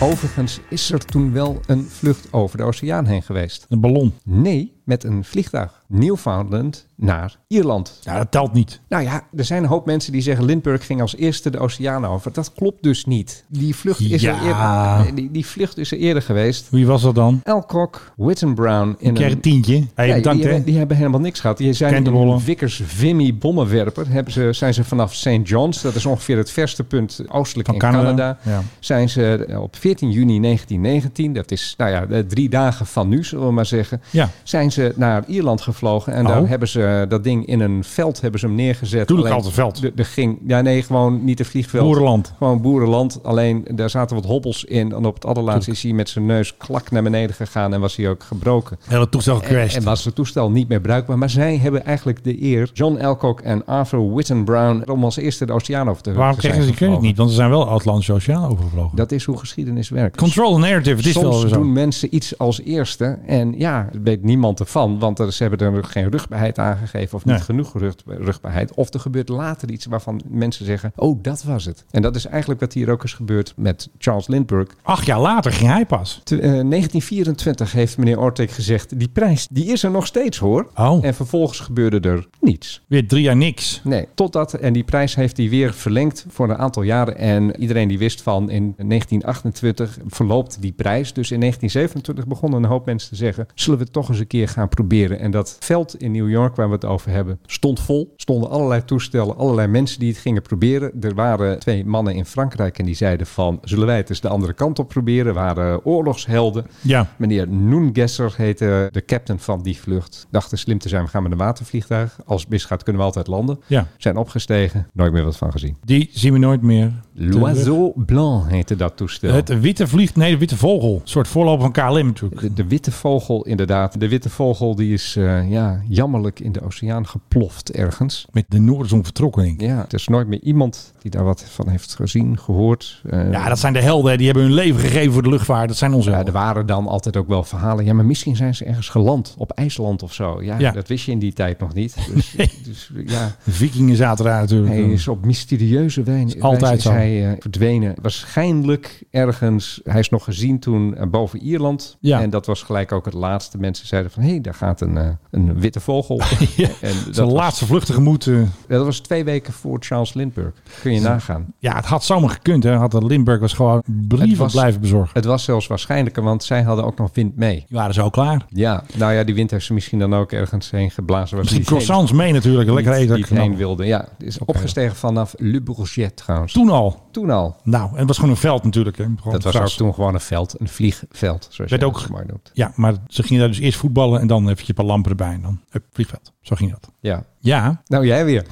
S8: Overigens is er toen wel een vlucht over de oceaan heen geweest.
S9: Een ballon.
S8: Nee, met een vliegtuig. Newfoundland naar Ierland.
S9: Ja, dat telt niet.
S8: Nou ja, er zijn een hoop mensen die zeggen... Lindbergh ging als eerste de oceaan over. Dat klopt dus niet. Die vlucht is,
S9: Ja.
S8: er, eerder, die, die vlucht is er eerder geweest.
S9: Wie was dat dan?
S8: Elcock, Witten Brown in
S9: Ik kreeg
S8: een-
S9: een tientje. Hey,
S8: Ja,
S9: bedankt
S8: die,
S9: hè.
S8: hebben- die hebben helemaal niks gehad. Die zijn in
S9: Kentenrollen.
S8: een Vickers Vimy bommenwerper. Hebben ze, zijn ze vanaf St. John's, dat is ongeveer het verste punt oostelijk
S9: Van
S8: in
S9: Canada,
S8: Canada.
S9: ja.
S8: Zijn ze eh, op 14 juni 1919, dat is nou ja, eh, drie dagen van nu, zullen we maar zeggen.
S9: Ja.
S8: Zijn ze naar Ierland gevlogen en
S9: Oh.
S8: daar hebben ze eh, dat ding in een veld hebben ze hem neergezet.
S9: Tuurlijk,
S8: Alleen,
S9: altijd veld.
S8: de- de ging, ja, nee, gewoon niet een vliegveld.
S9: Boerenland.
S8: Gewoon boerenland. Alleen daar zaten wat hobbels in. En op het allerlaatste is hij met zijn neus klak naar beneden gegaan en was hij ook gebroken.
S9: Hele toestel
S8: En, en
S9: gecrashed.
S8: was het toestel niet meer bruikbaar. Maar zij hebben eigenlijk de eer, John Alcock en Arthur Witten Brown, om als eerste de oceaan over te
S9: Waarom
S8: te
S9: kregen ze
S8: zijn
S9: die credit
S8: gevlogen.
S9: niet? Want ze zijn wel Atlantische Oceaan overgevlogen.
S8: Dat is hoe geschiedenis werkt.
S9: Control the narrative, het is wel
S8: Soms
S9: zo.
S8: doen mensen iets als eerste en ja, weet niemand te ervan. Want er- ze hebben er geen rugbaarheid aan gegeven of
S9: Nee.
S8: niet genoeg rug- rugbaarheid. Of er gebeurt later iets waarvan mensen zeggen, oh, dat was het. En dat is eigenlijk wat hier ook is gebeurd met Charles Lindbergh.
S9: Acht jaar later ging hij pas.
S8: Te- eh, 1924 heeft meneer Ortek gezegd, die prijs die is er nog steeds hoor.
S9: Oh.
S8: En vervolgens gebeurde er niets.
S9: Weer drie jaar niks.
S8: Nee, totdat. En die prijs heeft hij weer verlengd voor een aantal jaren. En iedereen die wist van in 1928 verloopt die prijs. Dus in 1927 begonnen een hoop mensen te zeggen... zullen we het toch eens een keer gaan proberen. En dat veld in New York waar we het over hebben stond vol. Stonden allerlei toestellen, allerlei mensen die het gingen proberen. Er waren twee mannen in Frankrijk en die zeiden van... zullen wij het eens de andere kant op proberen? Waren oorlogshelden.
S9: Ja.
S8: Meneer Noengesser heette de captain van die vlucht. Dachten slim te zijn, we gaan met een watervliegtuig. Als het misgaat kunnen we altijd landen.
S9: Ja.
S8: Zijn opgestegen, nooit meer wat van gezien.
S9: Die zien we nooit meer.
S8: L'Oiseau Blanc heette dat toestel.
S9: Het witte vliegt, nee, de witte vogel. Een soort voorloper van KLM natuurlijk.
S8: De, de witte vogel inderdaad. De witte vogel die is eh, ja, jammerlijk in de oceaan geploft ergens.
S9: Met de Noordzon vertrokken denk
S8: ik. Ja, er is nooit meer iemand die daar wat van heeft gezien, gehoord. eh.
S9: Ja, dat zijn de helden. hè. Die hebben hun leven gegeven voor de luchtvaart. Dat zijn onze helden.
S8: er waren dan altijd ook wel verhalen. Ja, maar misschien zijn ze ergens geland op IJsland of zo. Ja,
S9: Ja.
S8: dat wist je in die tijd nog niet. Dus, dus, ja.
S9: De vikingen zaten daar natuurlijk.
S8: Hij is op mysterieuze wijn.
S9: Is altijd
S8: wijze is
S9: zo.
S8: hij eh, verdwenen. Waarschijnlijk ergens. Hij is nog gezien toen eh, boven Ierland.
S9: Ja.
S8: En dat was gelijk ook het laatste. Mensen zeiden van hé, hey, daar gaat een, eh, een witte vogel. en
S9: Zijn laatste vlucht tegemoet. eh.
S8: dat was twee weken voor Charles Lindbergh. Kun je nagaan.
S9: Ja, het had zomaar gekund. Hè. Had dat Lindbergh was gewoon
S8: Het
S9: brieven
S8: was-
S9: blijven bezorgen.
S8: Het was zelfs waarschijnlijker, want zij hadden ook nog wind mee.
S9: Die waren zo klaar.
S8: Ja, nou ja, die wind heeft ze misschien dan ook ergens heen geblazen.
S9: Misschien
S8: die heen-
S9: croissants mee natuurlijk.
S8: niet-
S9: Lekker eten. Nou,
S8: Die het
S9: knap.
S8: heen wilde, ja. Het Is opgestegen vanaf Le Bourget trouwens.
S9: Toen al.
S8: Toen al.
S9: Nou, en het was gewoon een veld natuurlijk. Hè. Gewoon
S8: Dat was ook
S9: gras.
S8: toen gewoon een veld, een vliegveld, zoals je
S9: Werd
S8: dat
S9: ook-
S8: zo mooi noemt.
S9: Ja, maar ze gingen daar dus eerst voetballen en dan eventjes een paar lampen erbij. En dan hup, vliegveld. Zo ging dat.
S8: Ja.
S9: Ja.
S8: Nou, jij weer.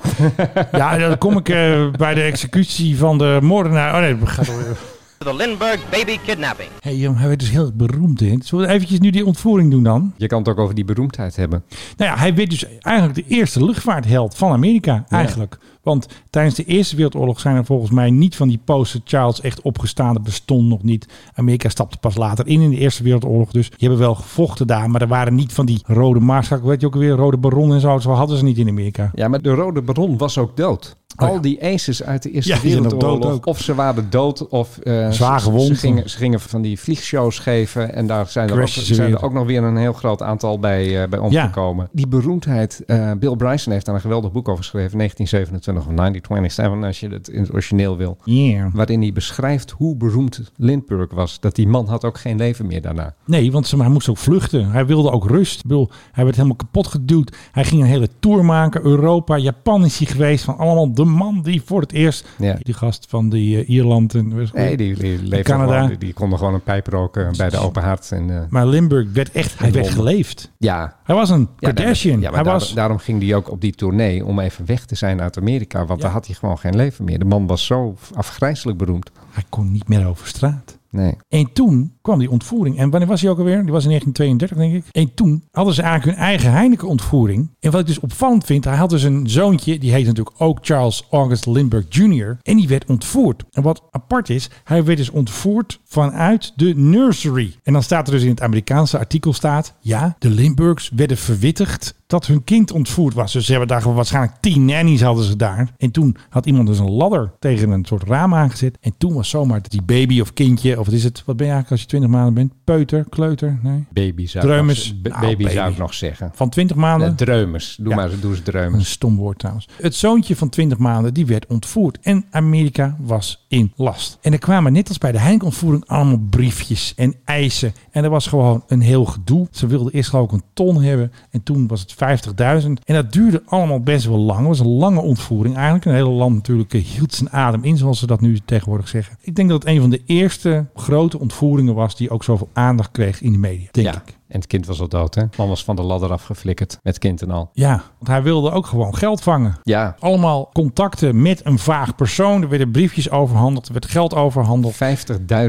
S9: Ja, dan kom ik eh, bij de executie van de moordenaar. Oh nee, we gaan door.
S12: The Lindbergh baby kidnapping.
S9: Hey, jong, hij werd dus heel erg beroemd in. Zullen we eventjes nu die ontvoering doen dan?
S8: Je kan het ook over die beroemdheid hebben.
S9: Nou ja, hij werd dus eigenlijk de eerste luchtvaartheld van Amerika eigenlijk. Want tijdens de Eerste Wereldoorlog zijn er volgens mij niet van die poster Charles echt opgestaan. Dat bestond nog niet. Amerika stapte pas later in in de Eerste Wereldoorlog. Dus die hebben wel gevochten daar. Maar er waren niet van die rode maarschalken, weet je ook weer, rode baron en zo. Zo hadden ze niet in Amerika.
S8: Ja, maar de Rode Baron was ook dood. Al die aces uit de Eerste
S9: Oh Ja, die zijn ook dood
S8: Wereldoorlog,
S9: ook.
S8: of ze waren dood of eh,
S9: Zwaar
S8: ze- Ze
S9: gewond.
S8: gingen, ze gingen van die vliegshows geven en daar zijn er, ook,
S9: Crashen ze
S8: zijn
S9: weer.
S8: er ook nog weer een heel groot aantal bij, eh, bij omgekomen. Die beroemdheid, eh, Bill Bryson heeft daar een geweldig boek over geschreven, 1927 of 1927, als je het in het origineel wil.
S9: Ja.
S8: Waarin hij beschrijft hoe beroemd Lindbergh was. Dat die man had ook geen leven meer daarna.
S9: Nee, want ze, hij moest ook vluchten. Hij wilde ook rust. Ik bedoel, hij werd helemaal kapot geduwd. Hij ging een hele tour maken. Europa, Japan is hij geweest. Van allemaal de man die voor het eerst...
S8: Ja.
S9: Die gast van die eh, Ierland en... weet je-
S8: Nee, die, die leefde
S9: Canada.
S8: gewoon- die, die konden gewoon een pijp roken bij de open haard. En, eh,
S9: Maar Limburg werd echt... Hij
S8: In
S9: werd
S8: Londen.
S9: geleefd.
S8: ja,
S9: Hij was een
S8: Ja,
S9: Kardashian.
S8: daar- ja, maar
S9: hij
S8: daar-
S9: was...
S8: daarom ging hij ook op die tournee om even weg te zijn uit Amerika. Want daar had hij gewoon geen leven meer. De man was zo afgrijzelijk beroemd.
S9: Hij kon niet meer over straat.
S8: Nee.
S9: En toen kwam die ontvoering. En wanneer was hij ook alweer? Die was in 1932, denk ik. En toen hadden ze eigenlijk hun eigen Heineken-ontvoering. En wat ik dus opvallend vind, hij had dus een zoontje. Die heet natuurlijk ook Charles August Lindbergh Jr. En die werd ontvoerd. En wat apart is, hij werd dus ontvoerd vanuit de nursery. En dan staat er dus in het Amerikaanse artikel staat... Ja, de Lindberghs werden verwittigd dat hun kind ontvoerd was. Dus ze hebben daar waarschijnlijk tien nannies hadden ze daar. En toen had iemand dus een ladder tegen een soort raam aangezet. En toen was zomaar die baby of kindje, of wat is het? Wat ben je eigenlijk als je 20 maanden bent? Peuter, kleuter, nee.
S8: Baby zou,
S9: Dreumes.
S8: ik nog,
S9: Nou,
S8: b- baby
S9: baby.
S8: zou ik nog zeggen.
S9: Van 20 maanden?
S8: Nee, dreumers. Doe maar, doe eens
S9: Een
S8: dreumers.
S9: stom woord trouwens. Het zoontje van 20 maanden die werd ontvoerd. En Amerika was in last. En er kwamen net als bij de Heineken-ontvoering allemaal briefjes en eisen. En er was gewoon een heel gedoe. Ze wilden eerst geloof ik een ton hebben. En toen was het 50.000. En dat duurde allemaal best wel lang. Het was een lange ontvoering eigenlijk. Een hele land natuurlijk eh, hield zijn adem in zoals ze dat nu tegenwoordig zeggen. Ik denk dat het een van de eerste grote ontvoeringen was die ook zoveel aandacht kreeg in de media. Denk
S8: ja.
S9: ik.
S8: En het kind was al dood, hè? De man was van de ladder afgeflikkerd. Met kind en al.
S9: Ja, want hij wilde ook gewoon geld vangen.
S8: Ja.
S9: Allemaal contacten met een vaag persoon. Er werden briefjes overhandeld, er werd geld overhandeld.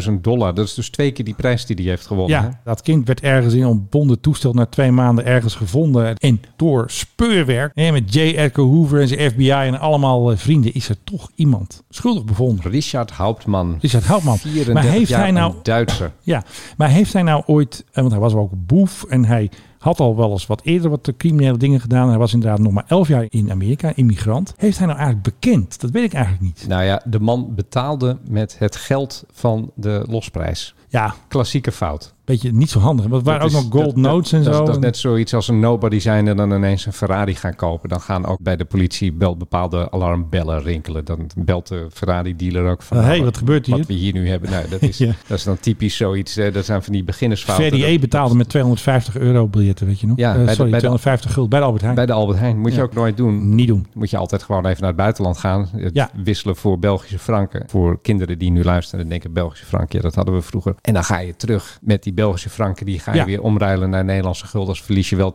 S8: 50.000 dollar. Dat is dus twee keer die prijs die hij heeft gewonnen. hè?
S9: Ja, dat kind werd ergens in een ontbonden toestel na twee maanden ergens gevonden. En door speurwerk hè, met J. Edgar Hoover en zijn FBI en allemaal eh, vrienden is er toch iemand schuldig bevonden.
S8: Richard Hauptmann.
S9: Richard Houtman.
S8: 34
S9: Maar heeft
S8: jaar
S9: hij nou
S8: een Duitser.
S9: Ja, maar heeft hij nou ooit, eh, want hij was ook boef en hij Had al wel eens wat eerder wat criminele dingen gedaan. Hij was inderdaad nog maar 11 jaar in Amerika, immigrant. Heeft hij nou eigenlijk bekend? Dat weet ik eigenlijk niet.
S8: Nou ja, de man betaalde met het geld van de losprijs.
S9: Ja.
S8: Klassieke fout.
S9: Beetje niet zo handig. Want waar ook
S8: Dat is-
S9: nog gold
S8: dat- dat-
S9: notes en
S8: dat,
S9: zo.
S8: is- Dat is net zoiets als een nobody zijn en dan ineens een Ferrari gaan kopen. Dan gaan ook bij de politie wel bepaalde alarmbellen rinkelen. Dan belt de Ferrari-dealer ook van...
S9: Hé,
S8: nou,
S9: hey, wat gebeurt hier?
S8: Wat we hier nu hebben. Nou, dat is,
S9: Ja.
S8: dat is dan typisch zoiets. eh, dat zijn van die beginnersfouten.
S9: Verdi
S8: Dat-
S9: E betaalde met 250 euro biljetten, weet je nog?
S8: Ja,
S9: Eh,
S8: bij de-
S9: sorry,
S8: bij de-
S9: 250 gulden bij de Albert Heijn.
S8: Bij de Albert Heijn moet
S9: Ja.
S8: je ook nooit doen.
S9: Niet doen.
S8: Moet je altijd gewoon even naar het buitenland gaan. Het
S9: Ja.
S8: Wisselen voor Belgische franken. Voor kinderen die nu luisteren en denken Belgische franken. Ja, dat hadden we vroeger. En dan ga je terug met die Belgische franken. Die ga je
S9: Ja.
S8: weer omruilen naar Nederlandse guldens. Verlies je wel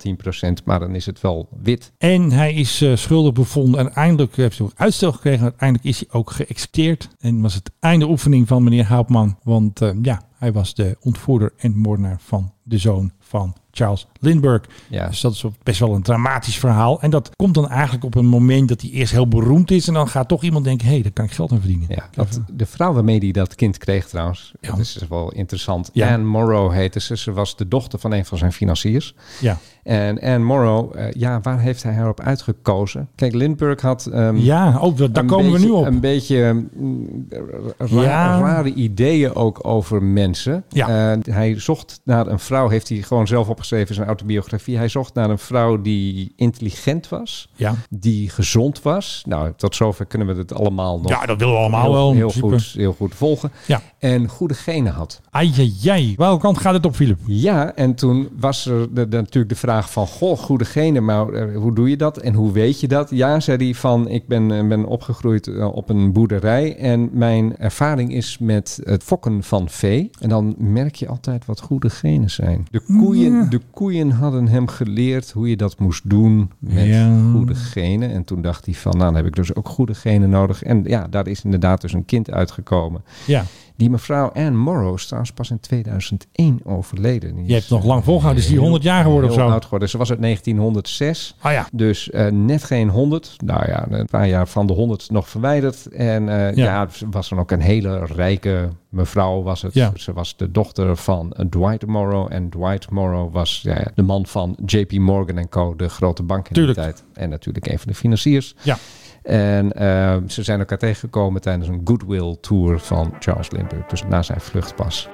S8: 10%, maar dan is het wel wit.
S9: En hij is eh, schuldig bevonden. En eindelijk eh, heeft hij ook uitstel gekregen. Uiteindelijk is hij ook geëxecuteerd. En was het einde oefening van meneer Hauptman. Want eh, ja, hij was de ontvoerder en moordenaar van de zoon van Charles Lindbergh.
S8: Ja.
S9: Dus dat is op- best wel een dramatisch verhaal. En dat komt dan eigenlijk op een moment dat hij eerst heel beroemd is. En dan gaat toch iemand denken, hé, hey, daar kan ik geld aan verdienen.
S8: Ja, dat, de vrouw waarmee die dat kind kreeg trouwens, dat is dus wel interessant. Anne Morrow heette ze. Ze was de dochter van een van zijn financiers.
S9: Ja.
S8: En Anne Morrow, eh, ja, waar heeft hij haar op uitgekozen? Kijk, Lindbergh had... ehm,
S9: Ja, oh, dat- daar
S8: een
S9: komen we
S8: beetje-
S9: nu op.
S8: Een beetje mm, ra-
S9: Ja.
S8: rare ideeën ook over mensen.
S9: Ja.
S8: Eh, hij zocht naar een vrouw, heeft hij gewoon zelf opgeschreven in zijn autobiografie. Hij zocht naar een vrouw die intelligent was,
S9: Ja.
S8: die gezond was. Nou, tot zover kunnen we het allemaal nog.
S9: Ja, dat willen we allemaal
S8: heel,
S9: wel, in
S8: Heel
S9: principe.
S8: goed, heel goed volgen.
S9: Ja.
S8: En goede genen had.
S9: Ai, ai, ai. Welke kant gaat het op, Philip?
S8: Ja, en toen was er de- de- natuurlijk de vraag van... Goh, goede genen, maar eh, hoe doe je dat? En hoe weet je dat? Ja, zei hij van... Ik ben, eh, ben opgegroeid eh, op een boerderij... en mijn ervaring is met het fokken van vee. En dan merk je altijd wat goede genen zijn. De koeien, de koeien hadden hem geleerd hoe je dat moest doen... met
S9: Ja.
S8: goede genen. En toen dacht hij van... Nou, dan heb ik dus ook goede genen nodig. En ja, daar is inderdaad dus een kind uitgekomen.
S9: Ja.
S8: Die mevrouw Anne Morrow is trouwens pas in 2001 overleden. Die
S9: Je hebt
S8: is,
S9: nog lang volgehouden. Is die
S8: heel-
S9: 100 jaar geworden of
S8: heel
S9: zo?
S8: oud geworden. Ze was uit 1906.
S9: Ah ja.
S8: Dus eh, net geen 100. Nou ja, een paar jaar van de 100 nog verwijderd. En eh,
S9: Ja.
S8: ja. ze was dan ook een hele rijke mevrouw was het.
S9: Ja.
S8: Ze was de dochter van eh, Dwight Morrow. En Dwight Morrow was ja, de man van JP Morgan Co., de grote bank in
S9: Tuurlijk.
S8: die tijd. En natuurlijk een van de financiers.
S9: Ja.
S8: En eh, ze zijn elkaar tegengekomen tijdens een goodwill tour van Charles Lindbergh. Dus na zijn vlucht pas.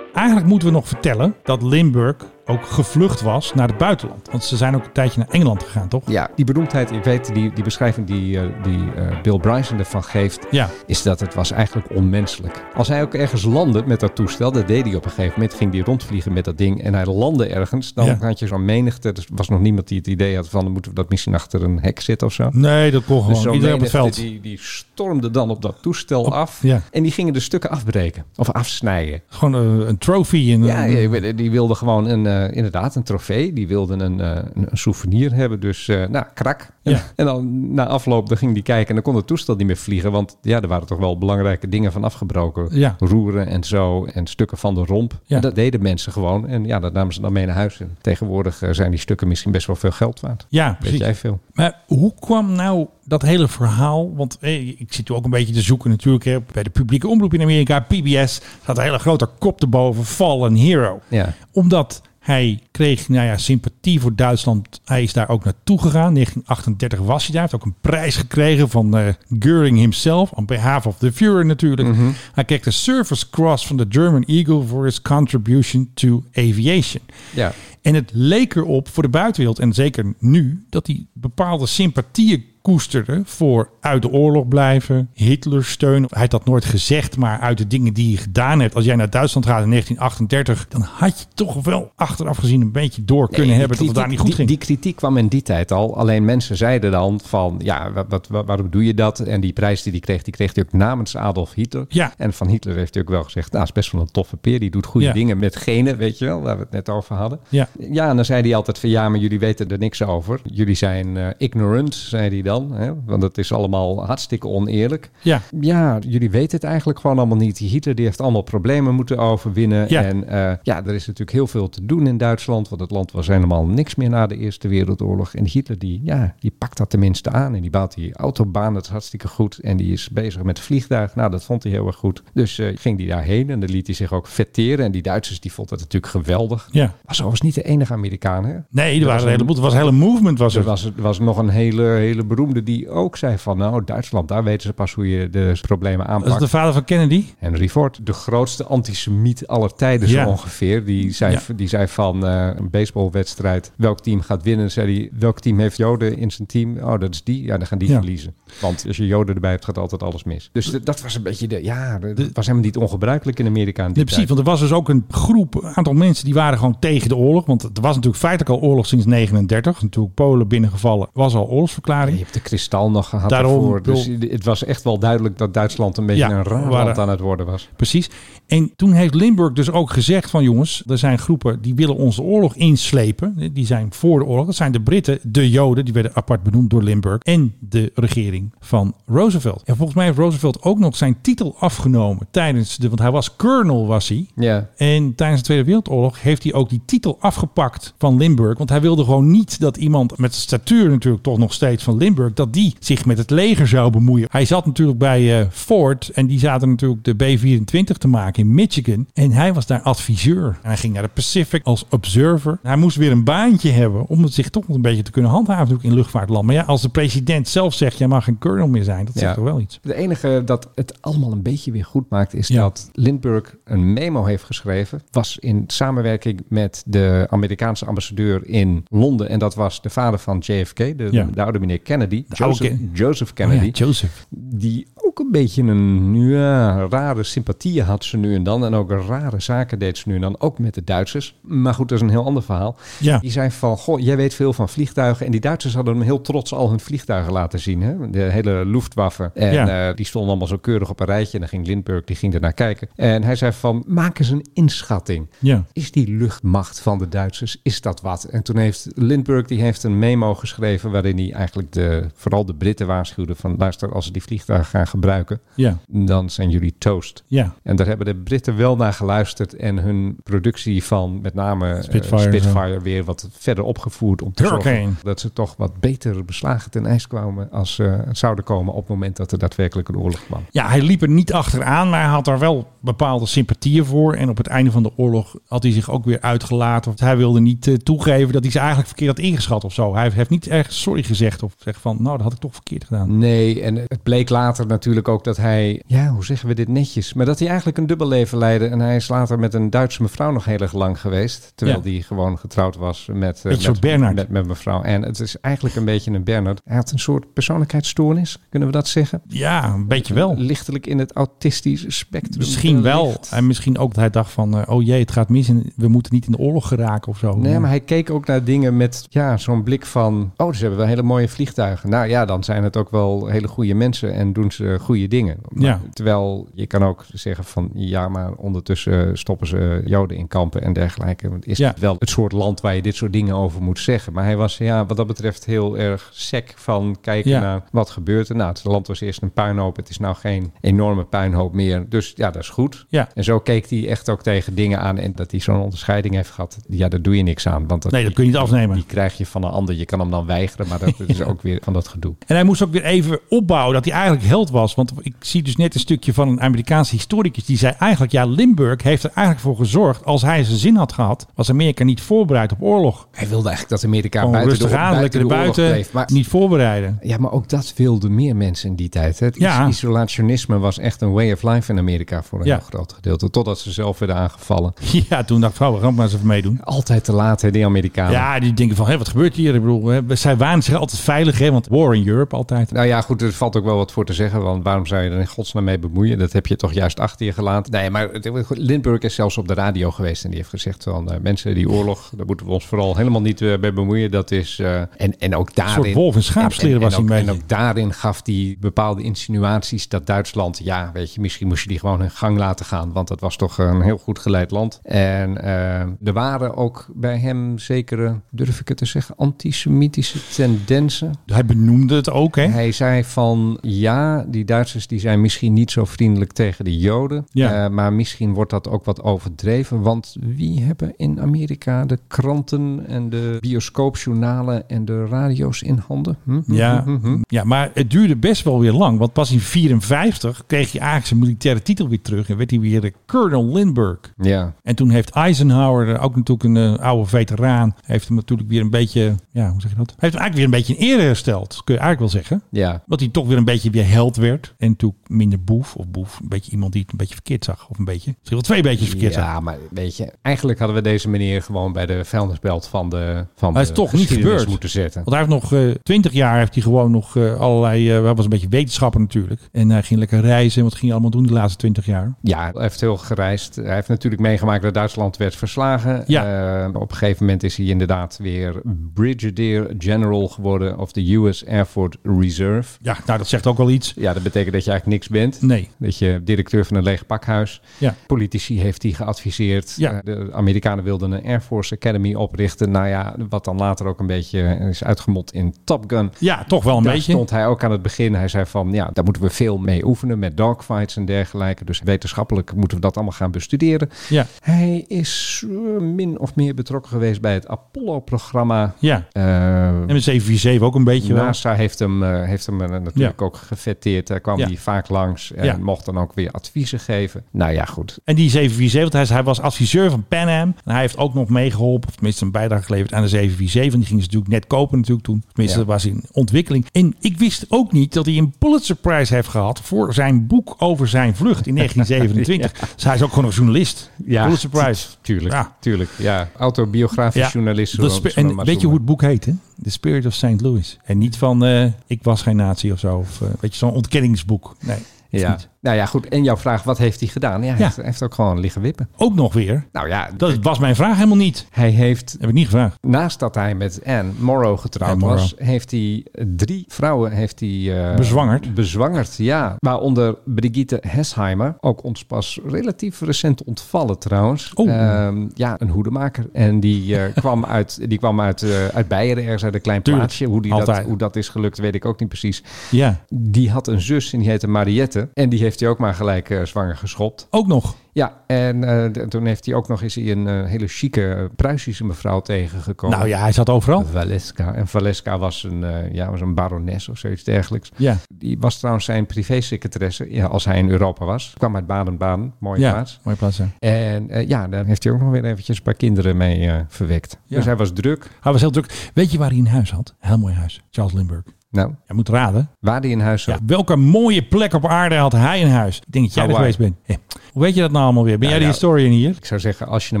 S9: Eigenlijk moeten we nog vertellen dat Limburg ook gevlucht was naar het buitenland. Want ze zijn ook een tijdje naar Engeland gegaan, toch?
S8: Ja, die beroemdheid, ik weet die, die beschrijving die, eh, die eh, Bill Bryson ervan geeft,
S9: Ja.
S8: is dat het was eigenlijk onmenselijk. Als hij ook ergens landde met dat toestel, dat deed hij op een gegeven moment, ging hij rondvliegen met dat ding en hij landde ergens, dan
S9: Ja.
S8: had je zo'n menigte, er was nog niemand die het idee had van, dan moeten we dat misschien achter een hek zitten of zo. Dus
S9: Nee, dat kon gewoon.
S8: zo'n
S9: Iedereen op het
S8: menigte
S9: veld.
S8: Die, die stormde dan op dat toestel af
S9: ja.
S8: en die gingen de stukken afbreken of afsnijden.
S9: Gewoon eh, een trofee. En,
S8: Ja,
S9: eh,
S8: ja, ik weet- die wilden gewoon een, eh, inderdaad een trofee. Die wilden een, eh, een een souvenir hebben. Dus, eh, nou, krak. En,
S9: Ja.
S8: en dan na afloop dan ging die kijken en dan kon het toestel niet meer vliegen. Want ja, er waren toch wel belangrijke dingen van afgebroken.
S9: Ja.
S8: Roeren en zo en stukken van de romp.
S9: Ja.
S8: En dat deden mensen gewoon. En ja, dat namen ze dan mee naar huis. En tegenwoordig eh, zijn die stukken misschien best wel veel geld waard.
S9: Ja,
S8: Weet
S9: precies.
S8: jij veel?
S9: Maar hoe kwam nou dat hele verhaal? Want eh, ik zit nu ook een beetje te zoeken natuurlijk. Hè, bij de publieke omroep in Amerika, PBS, staat een hele grote kop erboven. Fallen Hero.
S8: Ja.
S9: Omdat hij kreeg nou ja, sympathie voor Duitsland. Hij is daar ook naartoe gegaan. 1938 was hij daar. Hij heeft ook een prijs gekregen van eh Göring himself. On behalf of the Führer natuurlijk.
S8: Mhm.
S9: Hij kreeg de Service Cross van de German Eagle... for his contribution to aviation.
S8: Ja.
S9: En het leek erop voor de buitenwereld, en zeker nu, dat hij bepaalde sympathieën koesterde voor uit de oorlog blijven, Hitler steunen. Hij had dat nooit gezegd, maar uit de dingen die hij gedaan heeft. Als jij naar Duitsland gaat in 1938, dan had je toch wel achteraf gezien een beetje door kunnen
S8: Nee,
S9: hebben
S8: die
S9: dat het daar niet goed
S8: kritiek-
S9: ging.
S8: Die, die kritiek kwam in die tijd al. Alleen mensen zeiden dan van, ja, wat, wat, wa- waarom doe je dat? En die prijs die hij kreeg, die kreeg hij ook namens Adolf Hitler.
S9: Ja.
S8: En van Hitler heeft hij ook wel gezegd, nou, is best wel een toffe peer. Die doet goede
S9: Ja.
S8: dingen met genen, weet je wel, waar we het net over hadden.
S9: Ja.
S8: Ja, en dan zei hij altijd van, ja, maar jullie weten er niks over. Jullie zijn eh, ignorant, zei hij dan. Hè? Want het is allemaal hartstikke oneerlijk.
S9: Ja.
S8: Ja, jullie weten het eigenlijk gewoon allemaal niet. Die Hitler die heeft allemaal problemen moeten overwinnen.
S9: Ja.
S8: En eh, ja, er is natuurlijk heel veel te doen in Duitsland. Want het land was helemaal niks meer na de Eerste Wereldoorlog. En Hitler die, ja, die pakt dat tenminste aan. En die bouwt die autobaan, dat is hartstikke goed. En die is bezig met vliegtuigen. Nou, dat vond hij heel erg goed. Dus eh, ging hij daarheen en dan liet hij zich ook vetteren. En die Duitsers die vonden dat natuurlijk geweldig.
S9: Ja.
S8: Was overigens niet de enige Amerikaan. Hè? Dus
S9: Nee, er, waren een heleboel. Er was een hele movement. Was
S8: er
S9: er.
S8: was, er was nog een hele, hele beroemde die ook zei van... nou, Duitsland, daar weten ze pas hoe je de problemen
S9: Dat is
S8: aanpakt.
S9: de vader van Kennedy.
S8: Henry Ford, de grootste antisemiet aller tijden
S9: Ja.
S8: zo ongeveer. Die zei,
S9: Ja.
S8: die zei van eh, een baseballwedstrijd, welk team gaat winnen? Zei hij, welk team heeft Joden in zijn team? Oh, dat is die. Ja, dan gaan die
S9: Ja.
S8: verliezen. Want als je Joden erbij hebt, gaat altijd alles mis. Dus d- dat was een beetje de... Ja, dat was helemaal niet ongebruikelijk in Amerika in die
S9: Nee, precies,
S8: tijd.
S9: want er was dus ook een groep, een aantal mensen die waren gewoon tegen de oorlog. Want er was natuurlijk feitelijk al oorlog sinds 39. Natuurlijk Polen binnengevallen, was al oorlogsverklaring.
S8: Je hebt de kristal nog gehad
S9: Daarom,
S8: daarvoor. Dus
S9: bedoel-
S8: het was echt wel duidelijk dat Duitsland een beetje
S9: Ja,
S8: een raar
S9: waren-
S8: land aan het worden was.
S9: Precies. En toen heeft Limburg dus ook gezegd van jongens, er zijn groepen die willen ons de oorlog inslepen. Die zijn voor de oorlog. Dat zijn de Britten, de Joden, die werden apart benoemd door Limburg. En de regering van Roosevelt. En volgens mij heeft Roosevelt ook nog zijn titel afgenomen tijdens de, want hij was colonel was hij.
S8: Ja.
S9: En tijdens de Tweede Wereldoorlog heeft hij ook die titel afgepakt van Limburg. Want hij wilde gewoon niet dat iemand met de statuur natuurlijk toch nog steeds van Limburg... dat die zich met het leger zou bemoeien. Hij zat natuurlijk bij eh, Ford en die zaten natuurlijk de B-24 te maken in Michigan. En hij was daar adviseur. En hij ging naar de Pacific als observer. Hij moest weer een baantje hebben om het zich toch nog een beetje te kunnen handhaven natuurlijk in luchtvaartland. Maar ja, als de president zelf zegt, jij mag geen colonel meer zijn, dat zegt
S8: Ja.
S9: toch wel iets.
S8: De enige dat het allemaal een beetje weer goed maakt is dat Lindbergh een memo heeft geschreven. Was in samenwerking met de Amerikaanse ambassadeur in Londen. En dat was de vader van JFK, de,
S9: Ja.
S8: de oude meneer Kennedy.
S9: De oude
S8: Joseph,
S9: Ken-
S8: Joseph Kennedy.
S9: Oh ja, Joseph.
S8: Die ook een beetje een ja, rare sympathie had ze nu en dan. En ook rare zaken deed ze nu en dan. Ook met de Duitsers. Maar goed, dat is een heel ander verhaal.
S9: Ja.
S8: Die zei van, goh, jij weet veel van vliegtuigen. En die Duitsers hadden hem heel trots al hun vliegtuigen laten zien. Hè? De hele Luftwaffe. En
S9: Ja.
S8: eh, die stonden allemaal zo keurig op een rijtje. En dan ging Lindbergh, die ging ernaar kijken. En hij zei van, maak eens een inschatting.
S9: Ja.
S8: Is die luchtmacht van de Duitsers, is dat wat? En toen heeft Lindbergh die heeft een memo geschreven... waarin hij eigenlijk de, vooral de Britten waarschuwde van... luister, als ze die vliegtuigen gaan gebruiken...
S9: Ja.
S8: dan zijn jullie toast.
S9: Ja.
S8: En daar hebben de Britten wel naar geluisterd... en hun productie van met name eh,
S9: Spitfire.
S8: Spitfire weer wat verder opgevoerd... om te
S9: Hurricane.
S8: zorgen dat ze toch wat beter beslagen ten ijs kwamen... als ze zouden komen op het moment dat er daadwerkelijk een oorlog kwam.
S9: Ja, hij liep er niet achteraan, maar hij had daar wel bepaalde sympathieën voor. En op het einde van de oorlog had hij zich ook weer uitgelaten. Want hij wilde niet eh, toegeven dat hij ze eigenlijk verkeerd had ingeschat of zo. Hij heeft niet echt sorry gezegd of zegt van, nou, dat had ik toch verkeerd gedaan.
S8: Nee, en het bleek later natuurlijk ook dat hij, ja, hoe zeggen we dit netjes, maar dat hij eigenlijk een dubbel leven leidde. En hij is later met een Duitse mevrouw nog heel erg lang geweest, terwijl
S9: Ja.
S8: hij gewoon getrouwd was met, eh,
S9: Met zo'n
S8: met,
S9: Bernard.
S8: met, met mevrouw. En het is eigenlijk een beetje een Bernard. Hij had een soort persoonlijkheidsstoornis, kunnen we dat zeggen?
S9: Ja, een beetje wel.
S8: Lichtelijk in het autistische spectrum.
S9: Misschien wel.
S8: wellicht.
S9: En misschien ook dat hij dacht van, eh, oh jee, het gaat mis en we moeten niet in de oorlog geraken of zo.
S8: Nee, maar hij keek ook naar dingen met ja, zo'n blik van... oh, ze hebben wel hele mooie vliegtuigen. Nou ja, dan zijn het ook wel hele goede mensen en doen ze goede dingen. Maar-
S9: Ja.
S8: Terwijl je kan ook zeggen van... ja, maar ondertussen eh, stoppen ze joden in kampen en dergelijke. Want Is
S9: Ja.
S8: het wel het soort land waar je dit soort dingen over moet zeggen? Maar hij was ja, wat dat betreft heel erg sec van kijken
S9: Ja.
S8: naar wat gebeurt er. Nou, het land was eerst een puinhoop. Het is nou geen enorme puinhoop meer. Dus ja, dat is goed.
S9: Ja.
S8: En zo keek hij echt ook tegen dingen aan. En dat hij zo'n onderscheiding heeft gehad, ja, daar doe je niks aan. Want dat,
S9: Nee, dat kun je niet afnemen.
S8: Die krijg je van een ander. Je kan hem dan weigeren, maar dat is ook weer van dat gedoe.
S9: En hij moest ook weer even opbouwen dat hij eigenlijk held was. Want ik zie dus net een stukje van een Amerikaanse historicus. Die zei eigenlijk, ja, Limburg heeft er eigenlijk voor gezorgd. Als hij zijn zin had gehad, was Amerika niet voorbereid op oorlog.
S8: Hij wilde eigenlijk dat Amerika
S9: Gewoon
S8: buiten
S9: rustig
S8: de,
S9: aan, lekker
S8: buiten de oorlog
S9: erbuiten,
S8: bleef. Maar,
S9: niet voorbereiden.
S8: ja, maar ook dat wilden meer mensen in die tijd. Hè. Het is-
S9: Ja.
S8: isolationisme was echt een way of life in Amerika voor een
S9: Ja.
S8: heel groot gedeelte. Totdat ze zelf werden aangevallen.
S9: Ja, toen dacht ik, oh, we gaan maar eens even meedoen.
S8: Altijd te laat, hè, die Amerikanen.
S9: Ja, die denken van, hé, wat gebeurt hier? Ik bedoel, hè, zij waren zich altijd veilig, hè, want war in Europe altijd.
S8: Nou ja, goed, er valt ook wel wat voor te zeggen. Want waarom zou je er in godsnaam mee bemoeien? Dat heb je toch juist achter je gelaten. Nee, maar het- goed, Lindbergh is zelfs op de radio geweest. En die heeft gezegd van eh, mensen, die oorlog, daar moeten we ons vooral helemaal niet eh, mee bemoeien. Dat is, eh, en, en ook daarin...
S9: wolf in schaapskleren
S8: en- en-
S9: was hij
S8: en ook-
S9: een
S8: En
S9: beetje.
S8: ook daarin gaf hij bepaalde insinuaties dat Duitsland... Ja, weet je, misschien moest je die gewoon hun gang laten gaan. Want dat was toch een heel goed geleid land. En eh, er waren ook bij hem zekere, durf ik het te zeggen, antisemitische tendensen.
S9: Hij benoemde het ook, hè.
S8: Hij zei van ja, die Duitsers die zijn misschien niet zo vriendelijk tegen de Joden.
S9: Ja.
S8: Eh, maar misschien wordt dat ook wat overdreven. Want wie hebben in Amerika de kranten en de bioscoopjournalen en de radio's in handen? Hm? Hm,
S9: Ja,
S8: hm, hm, hm.
S9: ja, maar het duurde best wel weer lang. Want pas in 54 kreeg hij eigenlijk zijn militaire titel weer terug. En werd hij weer de Colonel Lindbergh.
S8: Ja.
S9: En toen heeft Eisenhower, eh, ook natuurlijk een eh, oude veteraan... heeft hem natuurlijk weer een beetje... Ja, hoe zeg je dat? Hij heeft hem eigenlijk weer een beetje in ere hersteld. Kun je eigenlijk wel zeggen.
S8: Ja.
S9: Dat hij toch weer een beetje weer held werd. En toen minder boef of boef. Een beetje iemand die het een beetje verkeerd zag. Of een beetje... Misschien wel twee beetjes verkeerd zag.
S8: Ja, maar weet je, eigenlijk hadden we deze meneer gewoon bij de vuilnisbelt van de van
S9: Maar het
S8: de
S9: is toch niet
S8: geschiedenis
S9: gebeurd.
S8: moeten zetten.
S9: Want hij heeft nog eh, 20 jaar heeft hij gewoon nog eh, allerlei... eh, hij was een beetje wetenschapper natuurlijk. En hij ging lekker reizen. En wat ging hij allemaal doen die laatste 20 jaar?
S8: Ja, hij heeft heel gereisd. Hij heeft natuurlijk meegemaakt dat Duitsland werd verslagen. Eh, op een gegeven moment is hij inderdaad weer Brigadier General geworden of de US Air Force Reserve.
S9: Ja, nou dat zegt ook wel iets.
S8: Ja, dat betekent dat je eigenlijk niks bent.
S9: Nee.
S8: Dat je directeur van een leeg pakhuis.
S9: Ja.
S8: Politici heeft hij geadviseerd.
S9: Ja.
S8: Eh, De Amerikanen wilden een Air Force Academy oprichten. Nou ja, wat dan later ook een beetje is uitgemond in Top Gun.
S9: Ja, toch wel een
S8: Daar
S9: beetje.
S8: stond hij ook aan het begin. Hij zei van, ja, daar moeten we veel mee oefenen met dogfights en dergelijke. Dus wetenschappelijk moeten we dat allemaal gaan bestuderen.
S9: Ja.
S8: Hij is eh, min of meer betrokken geweest bij het Apollo-programma.
S9: Ja.
S8: Eh,
S9: En met 747 ook een beetje wel.
S8: NASA heeft hem, eh, heeft hem eh, natuurlijk ook gefetteerd. Daar kwam
S9: Ja.
S8: hij vaak langs en
S9: Ja.
S8: mocht dan ook weer adviezen geven. Nou ja, goed.
S9: En die 747, hij, is- hij was adviseur van Pan Am. En hij heeft ook nog meegeholpen, of tenminste een bijdrage geleverd aan de 747. En die gingen ze natuurlijk net kopen natuurlijk toen. Tenminste,
S8: Ja.
S9: dat was in ontwikkeling. En ik wist ook niet dat hij een Pulitzer Prize heeft gehad voor zijn boek over zijn vlucht in 1927. Dus hij is ook gewoon een journalist. Pulitzer Prize.
S8: tu- Tuurlijk,
S9: Ja.
S8: tuurlijk. Ja, autobiografisch journalist.
S9: dat
S8: zullen we-
S9: spe-
S8: zullen we
S9: en
S8: maar
S9: weet je hoe
S8: noemen.
S9: het boek heet, hè? The Spirit of St. Louis. En niet van eh, ik was geen nazi of zo. Of, eh, weet je, zo'n ontkenningsboek. Nee, dat
S8: Ja.
S9: niet.
S8: Nou ja, goed. En jouw vraag, wat heeft hij gedaan? Ja, hij
S9: Ja.
S8: Heeft, hij heeft ook gewoon liggen wippen.
S9: Ook nog weer.
S8: Nou ja,
S9: Dat was mijn vraag helemaal niet.
S8: hij heeft
S9: Heb ik niet gevraagd.
S8: Naast dat hij met Anne Morrow getrouwd
S9: Anne Morrow.
S8: was, heeft hij eh, drie vrouwen heeft hij, eh,
S9: Bezwangerd.
S8: Bezwangerd, ja. Waaronder Brigitte Hesheimer, ook ons pas relatief recent ontvallen trouwens.
S9: Oh.
S8: Ehm, ja, een hoedemaker. En die eh, kwam uit, die kwam uit, eh, uit Beieren, ergens uit een klein
S9: Tuurlijk,
S8: plaatsje. Hoe, die dat,
S9: altijd.
S8: hoe dat is gelukt, weet ik ook niet precies.
S9: Ja,
S8: Die had een zus en die heette Mariette. En die heeft hij ook maar gelijk eh, zwanger geschopt.
S9: ook nog.
S8: Ja, en eh, de- toen heeft hij ook nog eens een eh, hele chique eh, Pruisische mevrouw tegengekomen.
S9: Nou ja, hij zat overal.
S8: Valeska. En Valeska was een, eh, ja, was een barones of zoiets dergelijks.
S9: Ja.
S8: Die was trouwens zijn privésecretaresse ja, als hij in Europa was. Kwam uit Baden-Baden, mooie
S9: ja,
S8: plaats.
S9: mooie plaats. ja.
S8: En eh, ja, daar heeft hij ook nog weer eventjes een paar kinderen mee eh, verwekt.
S9: Ja.
S8: Dus hij was druk.
S9: Hij was heel druk. Weet je waar hij een huis had? Heel mooi huis. Charles Lindbergh.
S8: Nou,
S9: Jij moet raden.
S8: waar hij in huis zat.
S9: Ja, welke mooie plek op aarde had hij een huis? Ik denk dat jij er
S8: Hawaii.
S9: geweest bent. Hé, Hoe weet je dat nou allemaal weer? Ben
S8: Ja,
S9: jij de
S8: ja.
S9: historian hier?
S8: Ik zou zeggen, als je een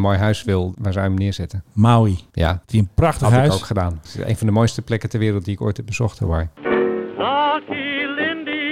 S8: mooi huis wil, waar zou je hem neerzetten?
S9: Maui. Had
S8: Ja,
S9: hij een prachtig
S8: had
S9: huis?
S8: ik ook gedaan. Het is een van de mooiste plekken ter wereld die ik ooit heb bezocht, Hawaii.
S10: Lucky Lindy,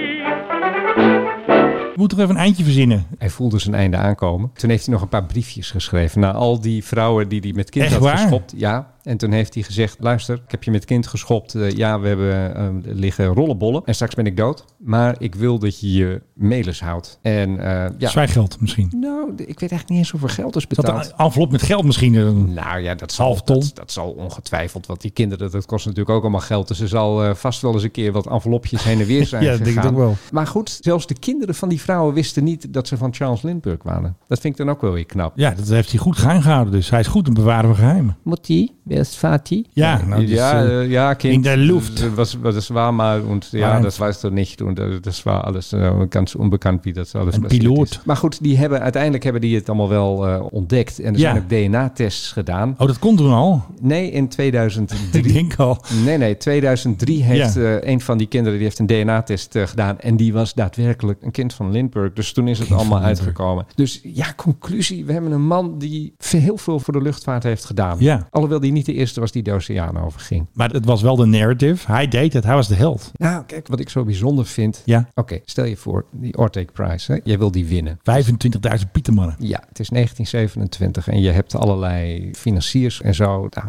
S9: Je moet toch even een eindje verzinnen?
S8: Hij voelde zijn einde aankomen. Toen heeft hij nog een paar briefjes geschreven naar al die vrouwen die hij met kind
S9: Echt
S8: had
S9: waar?
S8: geschopt. Ja. En toen heeft hij gezegd: luister, ik heb je met kind geschopt. Eh, ja, we hebben eh, liggen rollenbollen. En straks ben ik dood. Maar ik wil dat je je melis houdt. En eh, ja.
S9: Zwijgeld misschien.
S8: Nou, d- ik weet eigenlijk niet eens hoeveel geld is
S9: Zat
S8: betaald.
S9: een envelop met geld misschien? Eh, erin?
S8: Nou ja, dat
S9: Half
S8: zal,
S9: ton?
S8: dat, dat zal ongetwijfeld. Want die kinderen, dat kost natuurlijk ook allemaal geld. Dus er zal eh, vast wel eens een keer wat envelopjes heen en weer zijn
S9: Ja, dat
S8: gegaan.
S9: denk ik ook wel.
S8: Maar goed, zelfs de kinderen van die vrouwen wisten niet dat ze van Charles Lindbergh waren. Dat vind ik dan ook wel weer knap.
S9: Ja, dat heeft hij goed geheim gehouden. Dus hij is goed in bewaren van geheimen.
S8: Mutti, wer ist Vati?
S9: Ja, nou, dus,
S8: ja,
S9: eh,
S8: äh, ja, Kind.
S9: in der Luft.
S8: äh, Was, was- das war mal und ja,
S9: Nein.
S8: das weißt du nicht. Und äh, das war alles äh, ganz unbekannt, wie das alles
S9: Een
S8: passiert
S9: piloot.
S8: Is. Maar goed, die hebben, uiteindelijk hebben die het allemaal wel eh, ontdekt. En er
S9: Ja.
S8: zijn ook DNA-tests gedaan.
S9: Oh, dat kon toen al.
S8: Nee, in
S9: Ik
S8: 2003.
S9: denk al.
S8: Nee, nee, 2003 heeft
S9: Ja.
S8: eh, een van die kinderen die heeft een DNA-test eh, gedaan. En die was daadwerkelijk een kind van Lindbergh. Dus toen is het
S9: Kind van
S8: allemaal
S9: Lindbergh.
S8: uitgekomen. Dus ja, conclusie. We hebben een man die ve- heel veel voor de luchtvaart heeft gedaan.
S9: Ja.
S8: Alhoewel die niet de eerste was die de oceaan overging.
S9: Maar het was wel de narrative. Hij deed het. Hij was de held.
S8: Nou, kijk, wat ik zo bijzonder vind.
S9: Ja.
S8: Oké, stel je voor, die Ortec Prize. Hè? Jij wil die winnen.
S9: 25.000 pietermannen.
S8: Ja, het is 1927 en je hebt allerlei financiers en zo.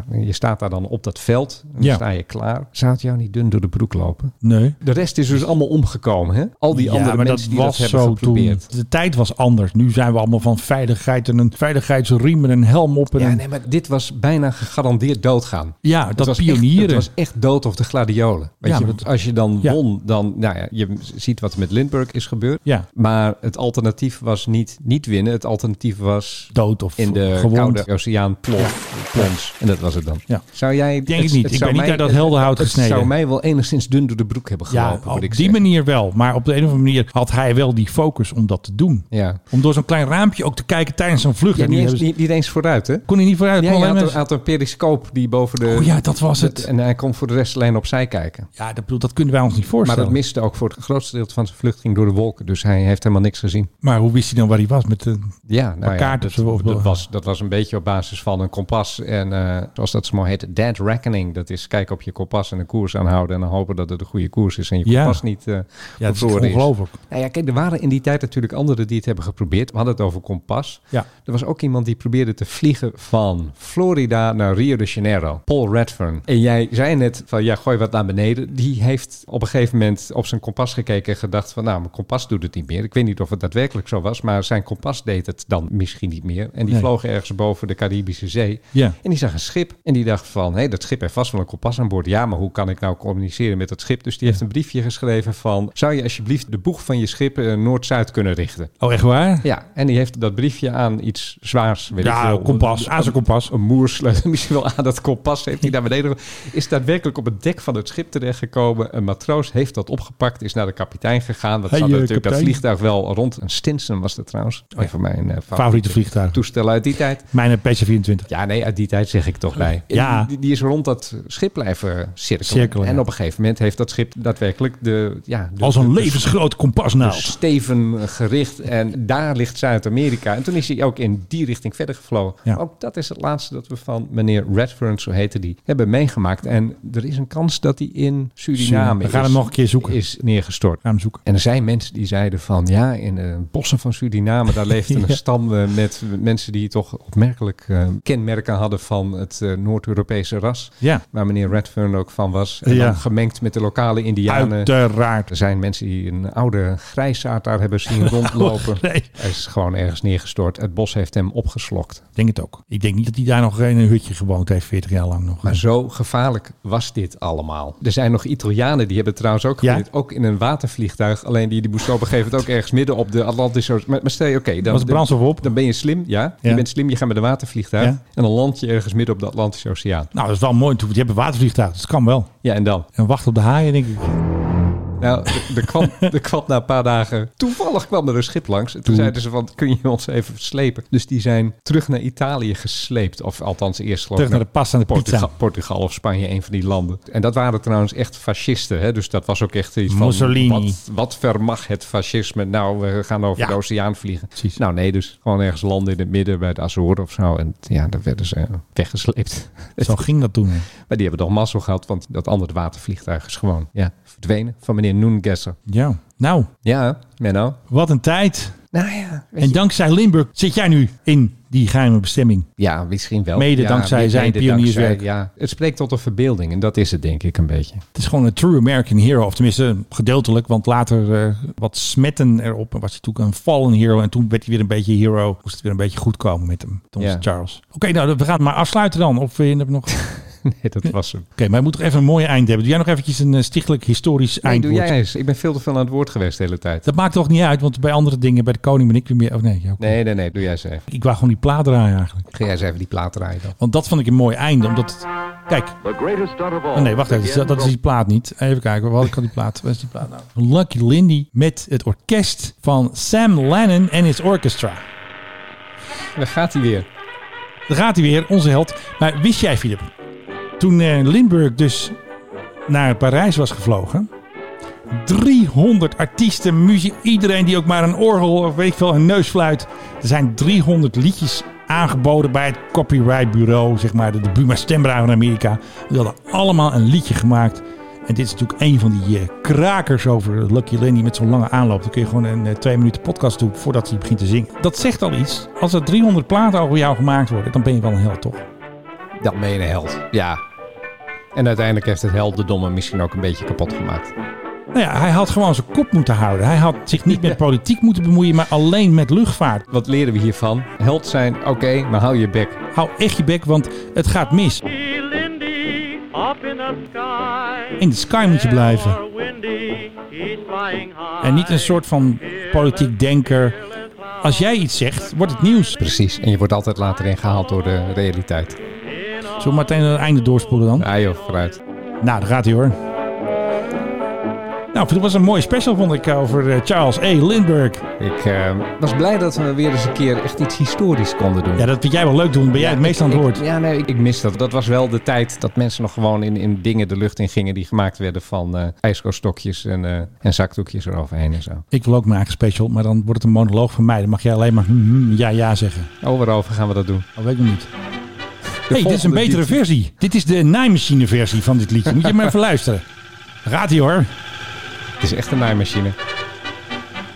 S8: Nou, je staat daar dan op dat veld en dan
S9: Ja.
S8: sta je klaar. Zou het jou niet dun door de broek lopen?
S9: Nee.
S8: De rest is dus allemaal omgekomen, hè? Al die andere mensen die dat hebben geprobeerd.
S9: Toen. De tijd was anders. Nu zijn we allemaal van veiligheid en een veiligheidsriem en een helm op. En
S8: Ja,
S9: een-
S8: nee, maar dit was bijna gegarandeerd weer doodgaan.
S9: Ja,
S8: Het
S9: dat
S8: was
S9: pionieren.
S8: Echt, het was echt dood of de gladiolen. Weet
S9: Ja,
S8: je,
S9: maar
S8: want als je dan
S9: ja.
S8: won, dan... Nou ja, je ziet wat er met Lindbergh is gebeurd.
S9: Ja.
S8: Maar het alternatief was niet, niet winnen. Het alternatief was...
S9: Dood of
S8: In de
S9: gewond.
S8: koude oceaan plof, plons. En dat was het dan.
S9: Ja.
S8: Zou jij...
S9: Denk ik niet. Ik ben
S8: zou
S9: niet
S8: mij-
S9: uit dat heldenhout
S8: het
S9: gesneden.
S8: zou mij wel enigszins dun door de broek hebben gelopen.
S9: Ja,
S8: moet
S9: op
S8: ik
S9: die manier wel. Maar op de een of andere manier had hij wel die focus om dat te doen.
S8: Ja.
S9: Om door zo'n klein raampje ook te kijken tijdens zo'n vlucht.
S8: Ja,
S9: En
S8: niet,
S9: nu
S8: eens,
S9: hebben ze-
S8: niet, niet eens vooruit, hè?
S9: Kon hij niet vooruit?
S8: Ja,
S9: kon
S8: hij
S9: alleen
S8: had, een-
S9: maar-
S8: had een periscoop die boven de...
S9: Oh ja, dat was het.
S8: En hij kon voor de rest alleen opzij kijken.
S9: Ja, dat, bedoel, dat kunnen wij ons niet
S8: Maar
S9: voorstellen.
S8: dat
S9: Maar,
S8: miste ook voor het grootste deel van zijn vlucht ging door de wolken. Dus hij heeft helemaal niks gezien.
S9: hoe wist hij dan waar hij was met de
S8: Ja, nou ja,
S9: kaarten?
S8: dat, dat was, dat was een beetje op basis van een kompas. En eh, zoals dat zo mooi heet, dead reckoning. Dat is kijken op je kompas en een koers aanhouden. En dan hopen dat het de goede koers is. En je
S9: Ja.
S8: kompas niet eh
S9: Ja, dat is
S8: bevroren
S9: ongelooflijk.
S8: Nou ja, kijk, er waren in die tijd natuurlijk anderen die het hebben geprobeerd. We hadden het over kompas.
S9: Ja.
S8: Er was ook iemand die probeerde te vliegen van Florida naar Rio de Janeiro. Paul Redfern. En jij zei net van, ja, gooi wat naar beneden. Die heeft op een gegeven moment op zijn kompas gekeken en gedacht van, nou, mijn kompas doet het niet meer. Ik weet niet of het daadwerkelijk zo was, maar zijn kompas deed het dan misschien niet meer. En die
S9: Nee.
S8: vloog ergens boven de Caribische Zee.
S9: Ja.
S8: En die zag een schip en die dacht van, hé, dat schip heeft vast wel een kompas aan boord. Ja, maar hoe kan ik nou communiceren met dat schip? Dus die heeft een briefje geschreven van, zou je alsjeblieft de boeg van je schip eh, noord-zuid kunnen richten?
S9: Oh, echt waar?
S8: Ja, en die heeft dat briefje aan iets zwaars. Weet
S9: Ja,
S8: ik veel,
S9: kompas. Aan zijn kompas.
S8: Een moersleutel, misschien wel aan dat kompas. Heeft hij naar beneden. ge- Is daadwerkelijk op het dek van het schip terechtgekomen. Een matroos heeft dat opgepakt, is naar de kapitein gegaan. Dat
S9: Hey,
S8: zat
S9: eh,
S8: natuurlijk dat
S9: kapitein.
S8: vliegtuig wel rond. Een Stinson was dat trouwens. Een van mijn eh, favoriete,
S9: Favoriete vliegtuig.
S8: toestellen uit die tijd.
S9: Mijn eh, PC-24.
S8: Ja, nee, uit die tijd zeg ik toch bij.
S9: Ja.
S8: Die, die is rond dat schip blijven cirkelen.
S9: Cirkelen,
S8: en
S9: ja.
S8: op een gegeven moment heeft dat schip daadwerkelijk de... Ja, de-
S9: Als een
S8: de-
S9: levensgroot nou.
S8: de
S9: kompasnaald.
S8: Dus Steven gericht. En daar ligt Zuid-Amerika. En toen is hij ook in die richting verder gevlogen.
S9: Ja.
S8: Ook dat is het laatste dat we van meneer Redfern, zo heette die, hebben meegemaakt. En er is een kans dat hij in Suriname
S9: We gaan
S8: is-
S9: hem nog een keer zoeken.
S8: is neergestort.
S9: Gaan hem zoeken.
S8: En er zijn mensen die zeiden van ja, in de bossen van Suriname, daar leefde een
S9: Ja.
S8: stam eh, met mensen die toch opmerkelijk eh, kenmerken hadden van het eh, Noord-Europese ras.
S9: Ja.
S8: Waar meneer Redfern ook van was. En
S9: Ja.
S8: dan gemengd met de lokale Indianen.
S9: Uiteraard. Dus
S8: Er zijn mensen die een oude grijsaard daar hebben zien rondlopen.
S9: Nee.
S8: Hij is gewoon ergens neergestort. Het bos heeft hem opgeslokt.
S9: Ik denk het ook. Ik denk niet dat hij daar nog in een hutje gewoond heeft, 40 jaar lang nog.
S8: Maar zo gevaarlijk was dit allemaal. Er zijn nog Italianen, die hebben het trouwens ook
S9: Ja?
S8: geprobeerd. Ook in een watervliegtuig. Alleen die, die moesten op een gegeven moment ook ergens midden op de Atlantische Oceaan. Maar, maar stel je, oké. dan,
S9: Was de brandstof op?
S8: Dan ben je slim, ja.
S9: Ja.
S8: Je bent slim, je gaat met een watervliegtuig.
S9: Ja.
S8: En dan land je ergens midden op de Atlantische Oceaan.
S9: Nou, dat is wel mooi. want Je hebt een watervliegtuig, dus dat kan wel.
S8: Ja, en dan?
S9: En wacht op de haaien, denk ik.
S8: Nou, er- er kwam, er kwam na een paar dagen... Toevallig kwam er een schip langs. En toen zeiden ze van, kun je ons even slepen? Dus die zijn terug naar Italië gesleept. Of althans eerst geloof
S9: Terug
S8: ik
S9: naar de pasta en de pizza.
S8: Portugal, Portugal of Spanje, een van die landen. En dat waren trouwens echt fascisten. Hè? Dus dat was ook echt iets van...
S9: Mussolini.
S8: Wat, wat vermag het fascisme? Nou, we gaan over
S9: Ja.
S8: de oceaan vliegen.
S9: Precies.
S8: Nou nee, dus gewoon ergens landen in het midden bij de Azoren of zo. En ja, daar werden ze weggesleept.
S9: Zo ging dat toen. hè.
S8: Maar die hebben toch mazzel gehad, want dat andere watervliegtuig is gewoon ja, verdwenen van meneer Noengesser.
S9: Ja. Nou,
S8: Ja, Menno.
S9: wat een tijd.
S8: Nou ja.
S9: En dankzij Limburg zit jij nu in die geheime bestemming.
S8: Ja, misschien wel.
S9: Mede
S8: Ja,
S9: dankzij zijn pionierswerk.
S8: ja. Het spreekt tot de verbeelding en dat is het denk ik een beetje.
S9: Het is gewoon een true American hero. Of tenminste, gedeeltelijk. Want later eh, wat smetten erop. En was hij toen een fallen hero. En toen werd hij weer een beetje hero. Moest het weer een beetje goed komen met hem. Tom
S8: Ja.
S9: Charles. Oké, nou, we gaan maar afsluiten dan. Of vind je hebt nog... Oké,
S8: Nee, dat was hem.
S9: maar je moet toch even een mooi eind hebben. Doe jij nog eventjes een eh, stichtelijk historisch
S8: Nee, doe
S9: eindwoord?
S8: jij eens. Ik ben veel te veel aan het woord geweest de hele tijd.
S9: Dat maakt toch niet uit. Want bij andere dingen, bij de koning ben ik weer meer... Oh nee, jij ook.
S8: Nee, nee, nee. Doe jij eens even.
S9: Ik wou gewoon die plaat draaien eigenlijk.
S8: Ga jij eens even die plaat draaien dan.
S9: Want dat vond ik een mooi einde. Omdat het... Kijk,
S1: The greatest stunt of all.
S9: Oh nee, wacht even. Dat- Dat is die plaat niet. Even kijken. Wat kan die plaat? Waar is die plaat nou? Lucky Lindy met het orkest van Sam Lennon en his orchestra.
S8: Daar gaat hij weer.
S9: Daar gaat hij weer, onze held. Maar wist jij, Philip, toen eh, Lindbergh dus naar Parijs was gevlogen, 300 artiesten, muziek, iedereen die ook maar een orgel of weet ik veel, een neusfluit. Er zijn 300 liedjes aangeboden bij het copyrightbureau, zeg maar, de, de Buma Stemra van Amerika. Die hadden allemaal een liedje gemaakt. En dit is natuurlijk een van die eh, krakers over Lucky Lenny met zo'n lange aanloop. Dan kun je gewoon een eh, twee minuten podcast doen voordat hij begint te zingen. Dat zegt al iets. Als er 300 platen over jou gemaakt worden, dan ben je wel een held, toch?
S8: Dan ben je een held. Ja. En uiteindelijk heeft het heldendomme misschien ook een beetje kapot gemaakt.
S9: Nou ja, hij had gewoon zijn kop moeten houden. Hij had zich niet met politiek moeten bemoeien, maar alleen met luchtvaart.
S8: Wat leren we hiervan? Held zijn, oké, maar hou je bek.
S9: Hou echt je bek, want het gaat mis.
S10: He up in the sky.
S9: In de sky moet je blijven.
S10: Or windy, he's flying high.
S9: En niet een soort van politiek denker. Als jij iets zegt, wordt het nieuws.
S8: Precies. En je wordt altijd later ingehaald door de realiteit.
S9: Zullen we meteen aan het einde doorspoelen dan?
S8: Ja joh, vooruit.
S9: Nou, daar gaat hij hoor. Nou, dat was een mooie special, vond ik, over eh, Charles E. Lindbergh.
S8: Ik eh, was blij dat we weer eens een keer echt iets historisch konden doen.
S9: Ja, dat vind jij wel leuk doen. Ben jij het meest aan het woord?
S8: Ja, nee, ik, ik mis dat. Dat was wel de tijd dat mensen nog gewoon in, in dingen de lucht in gingen die gemaakt werden van eh ijskooststokjes en, eh, en zakdoekjes eroverheen en zo.
S9: Ik wil ook maken een special, maar dan wordt het een monoloog van mij. Dan mag jij alleen maar hmm, hmm, ja, ja zeggen.
S8: Oh, waarover gaan we dat doen?
S9: Dat weet ik nog niet. hey, dit is een
S8: volgende
S9: betere
S8: liedje.
S9: versie. Dit is de naaimachine versie van dit liedje. Moet je maar even luisteren. Gaat ie hoor.
S8: Het is echt een naaimachine.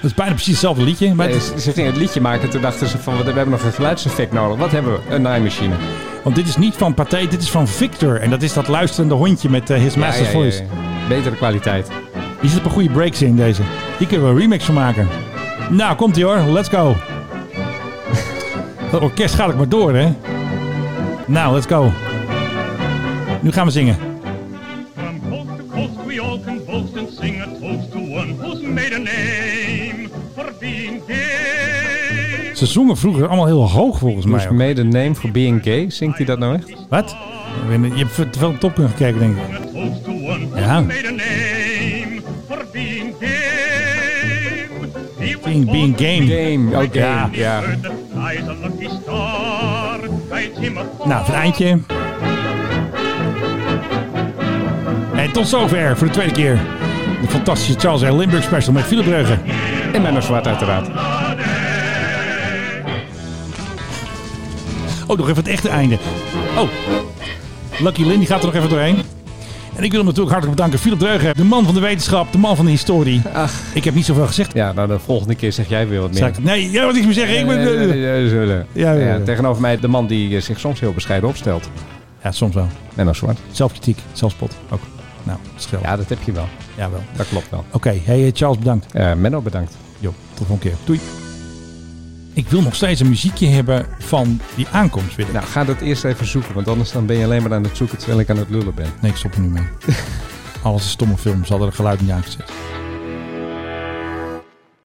S9: Dat is bijna precies hetzelfde liedje. Maar
S8: Nee,
S9: het is-
S8: ze ze gingen het liedje maken toen dachten ze van, we hebben nog een geluidseffect nodig. Wat hebben we? Een naaimachine.
S9: want dit is niet van Pathé, dit is van Victor. En dat is dat luisterende hondje met eh, His Master's
S8: Ja, ja, ja,
S9: Voice.
S8: ja. Betere kwaliteit.
S9: Die zit op een goede breaks in deze. Die kunnen we een remix van maken. Nou, komt ie hoor. Let's go. Dat orkest gaat ik maar door, hè. Nou, let's go. Nu gaan we zingen.
S10: From coast to coast we all can boast and sing a toast to one who's made a name for being gay.
S9: Ze zongen vroeger allemaal heel hoog volgens
S8: Who's
S9: mij. ook.
S8: made a name for being gay? Zingt hij dat nou echt?
S9: Wat? Ik weet niet, Je hebt te veel op Topkun gekeken, denk ik.
S10: A toast to one who's
S9: Ja.
S10: made a name for being gay. He was
S9: Being, being
S10: born
S9: game.
S8: Game, oké.
S9: Ja.
S8: Ja.
S10: Bird that flies a lucky star, guides him afar.
S9: Nou, het eindje. En tot zover voor de tweede keer. De fantastische Charles R. Lindbergh special met Philip Breugen.
S8: En Menno Zwart uiteraard.
S9: Oh, nog even het echte einde. Oh, Lucky Lynn die gaat er nog even doorheen. En ik wil hem natuurlijk hartelijk bedanken. Philip Dreugen, de man van de wetenschap, de man van de historie. Ik heb niet zoveel gezegd.
S8: Ja, nou de volgende keer zeg jij weer wat
S9: Zal
S8: meer.
S9: ik- Nee, jij wat niks meer zeggen. Ik ben...
S8: Eh, eh, eh, zullen.
S9: Ja, ja, ja.
S8: Ja, Tegenover mij de man die eh, zich soms heel bescheiden opstelt.
S9: Ja, soms wel.
S8: Menno Zwart.
S9: Zelfkritiek, zelfspot ook. Nou, schil. Ja.
S8: Ja, dat heb je wel.
S9: Jawel.
S8: Dat klopt wel.
S9: Oké, hey eh, Charles, bedankt.
S8: Eh, Menno, bedankt.
S9: Jo, tot de volgende keer. Doei. Ik wil nog steeds een muziekje hebben van die aankomst weer.
S8: Nou, ga dat eerst even zoeken, want anders dan ben je alleen maar aan het zoeken terwijl ik aan het lullen ben.
S9: Nee, ik stop er nu mee. Alles is stomme films, ze hadden er geluid niet aangezet.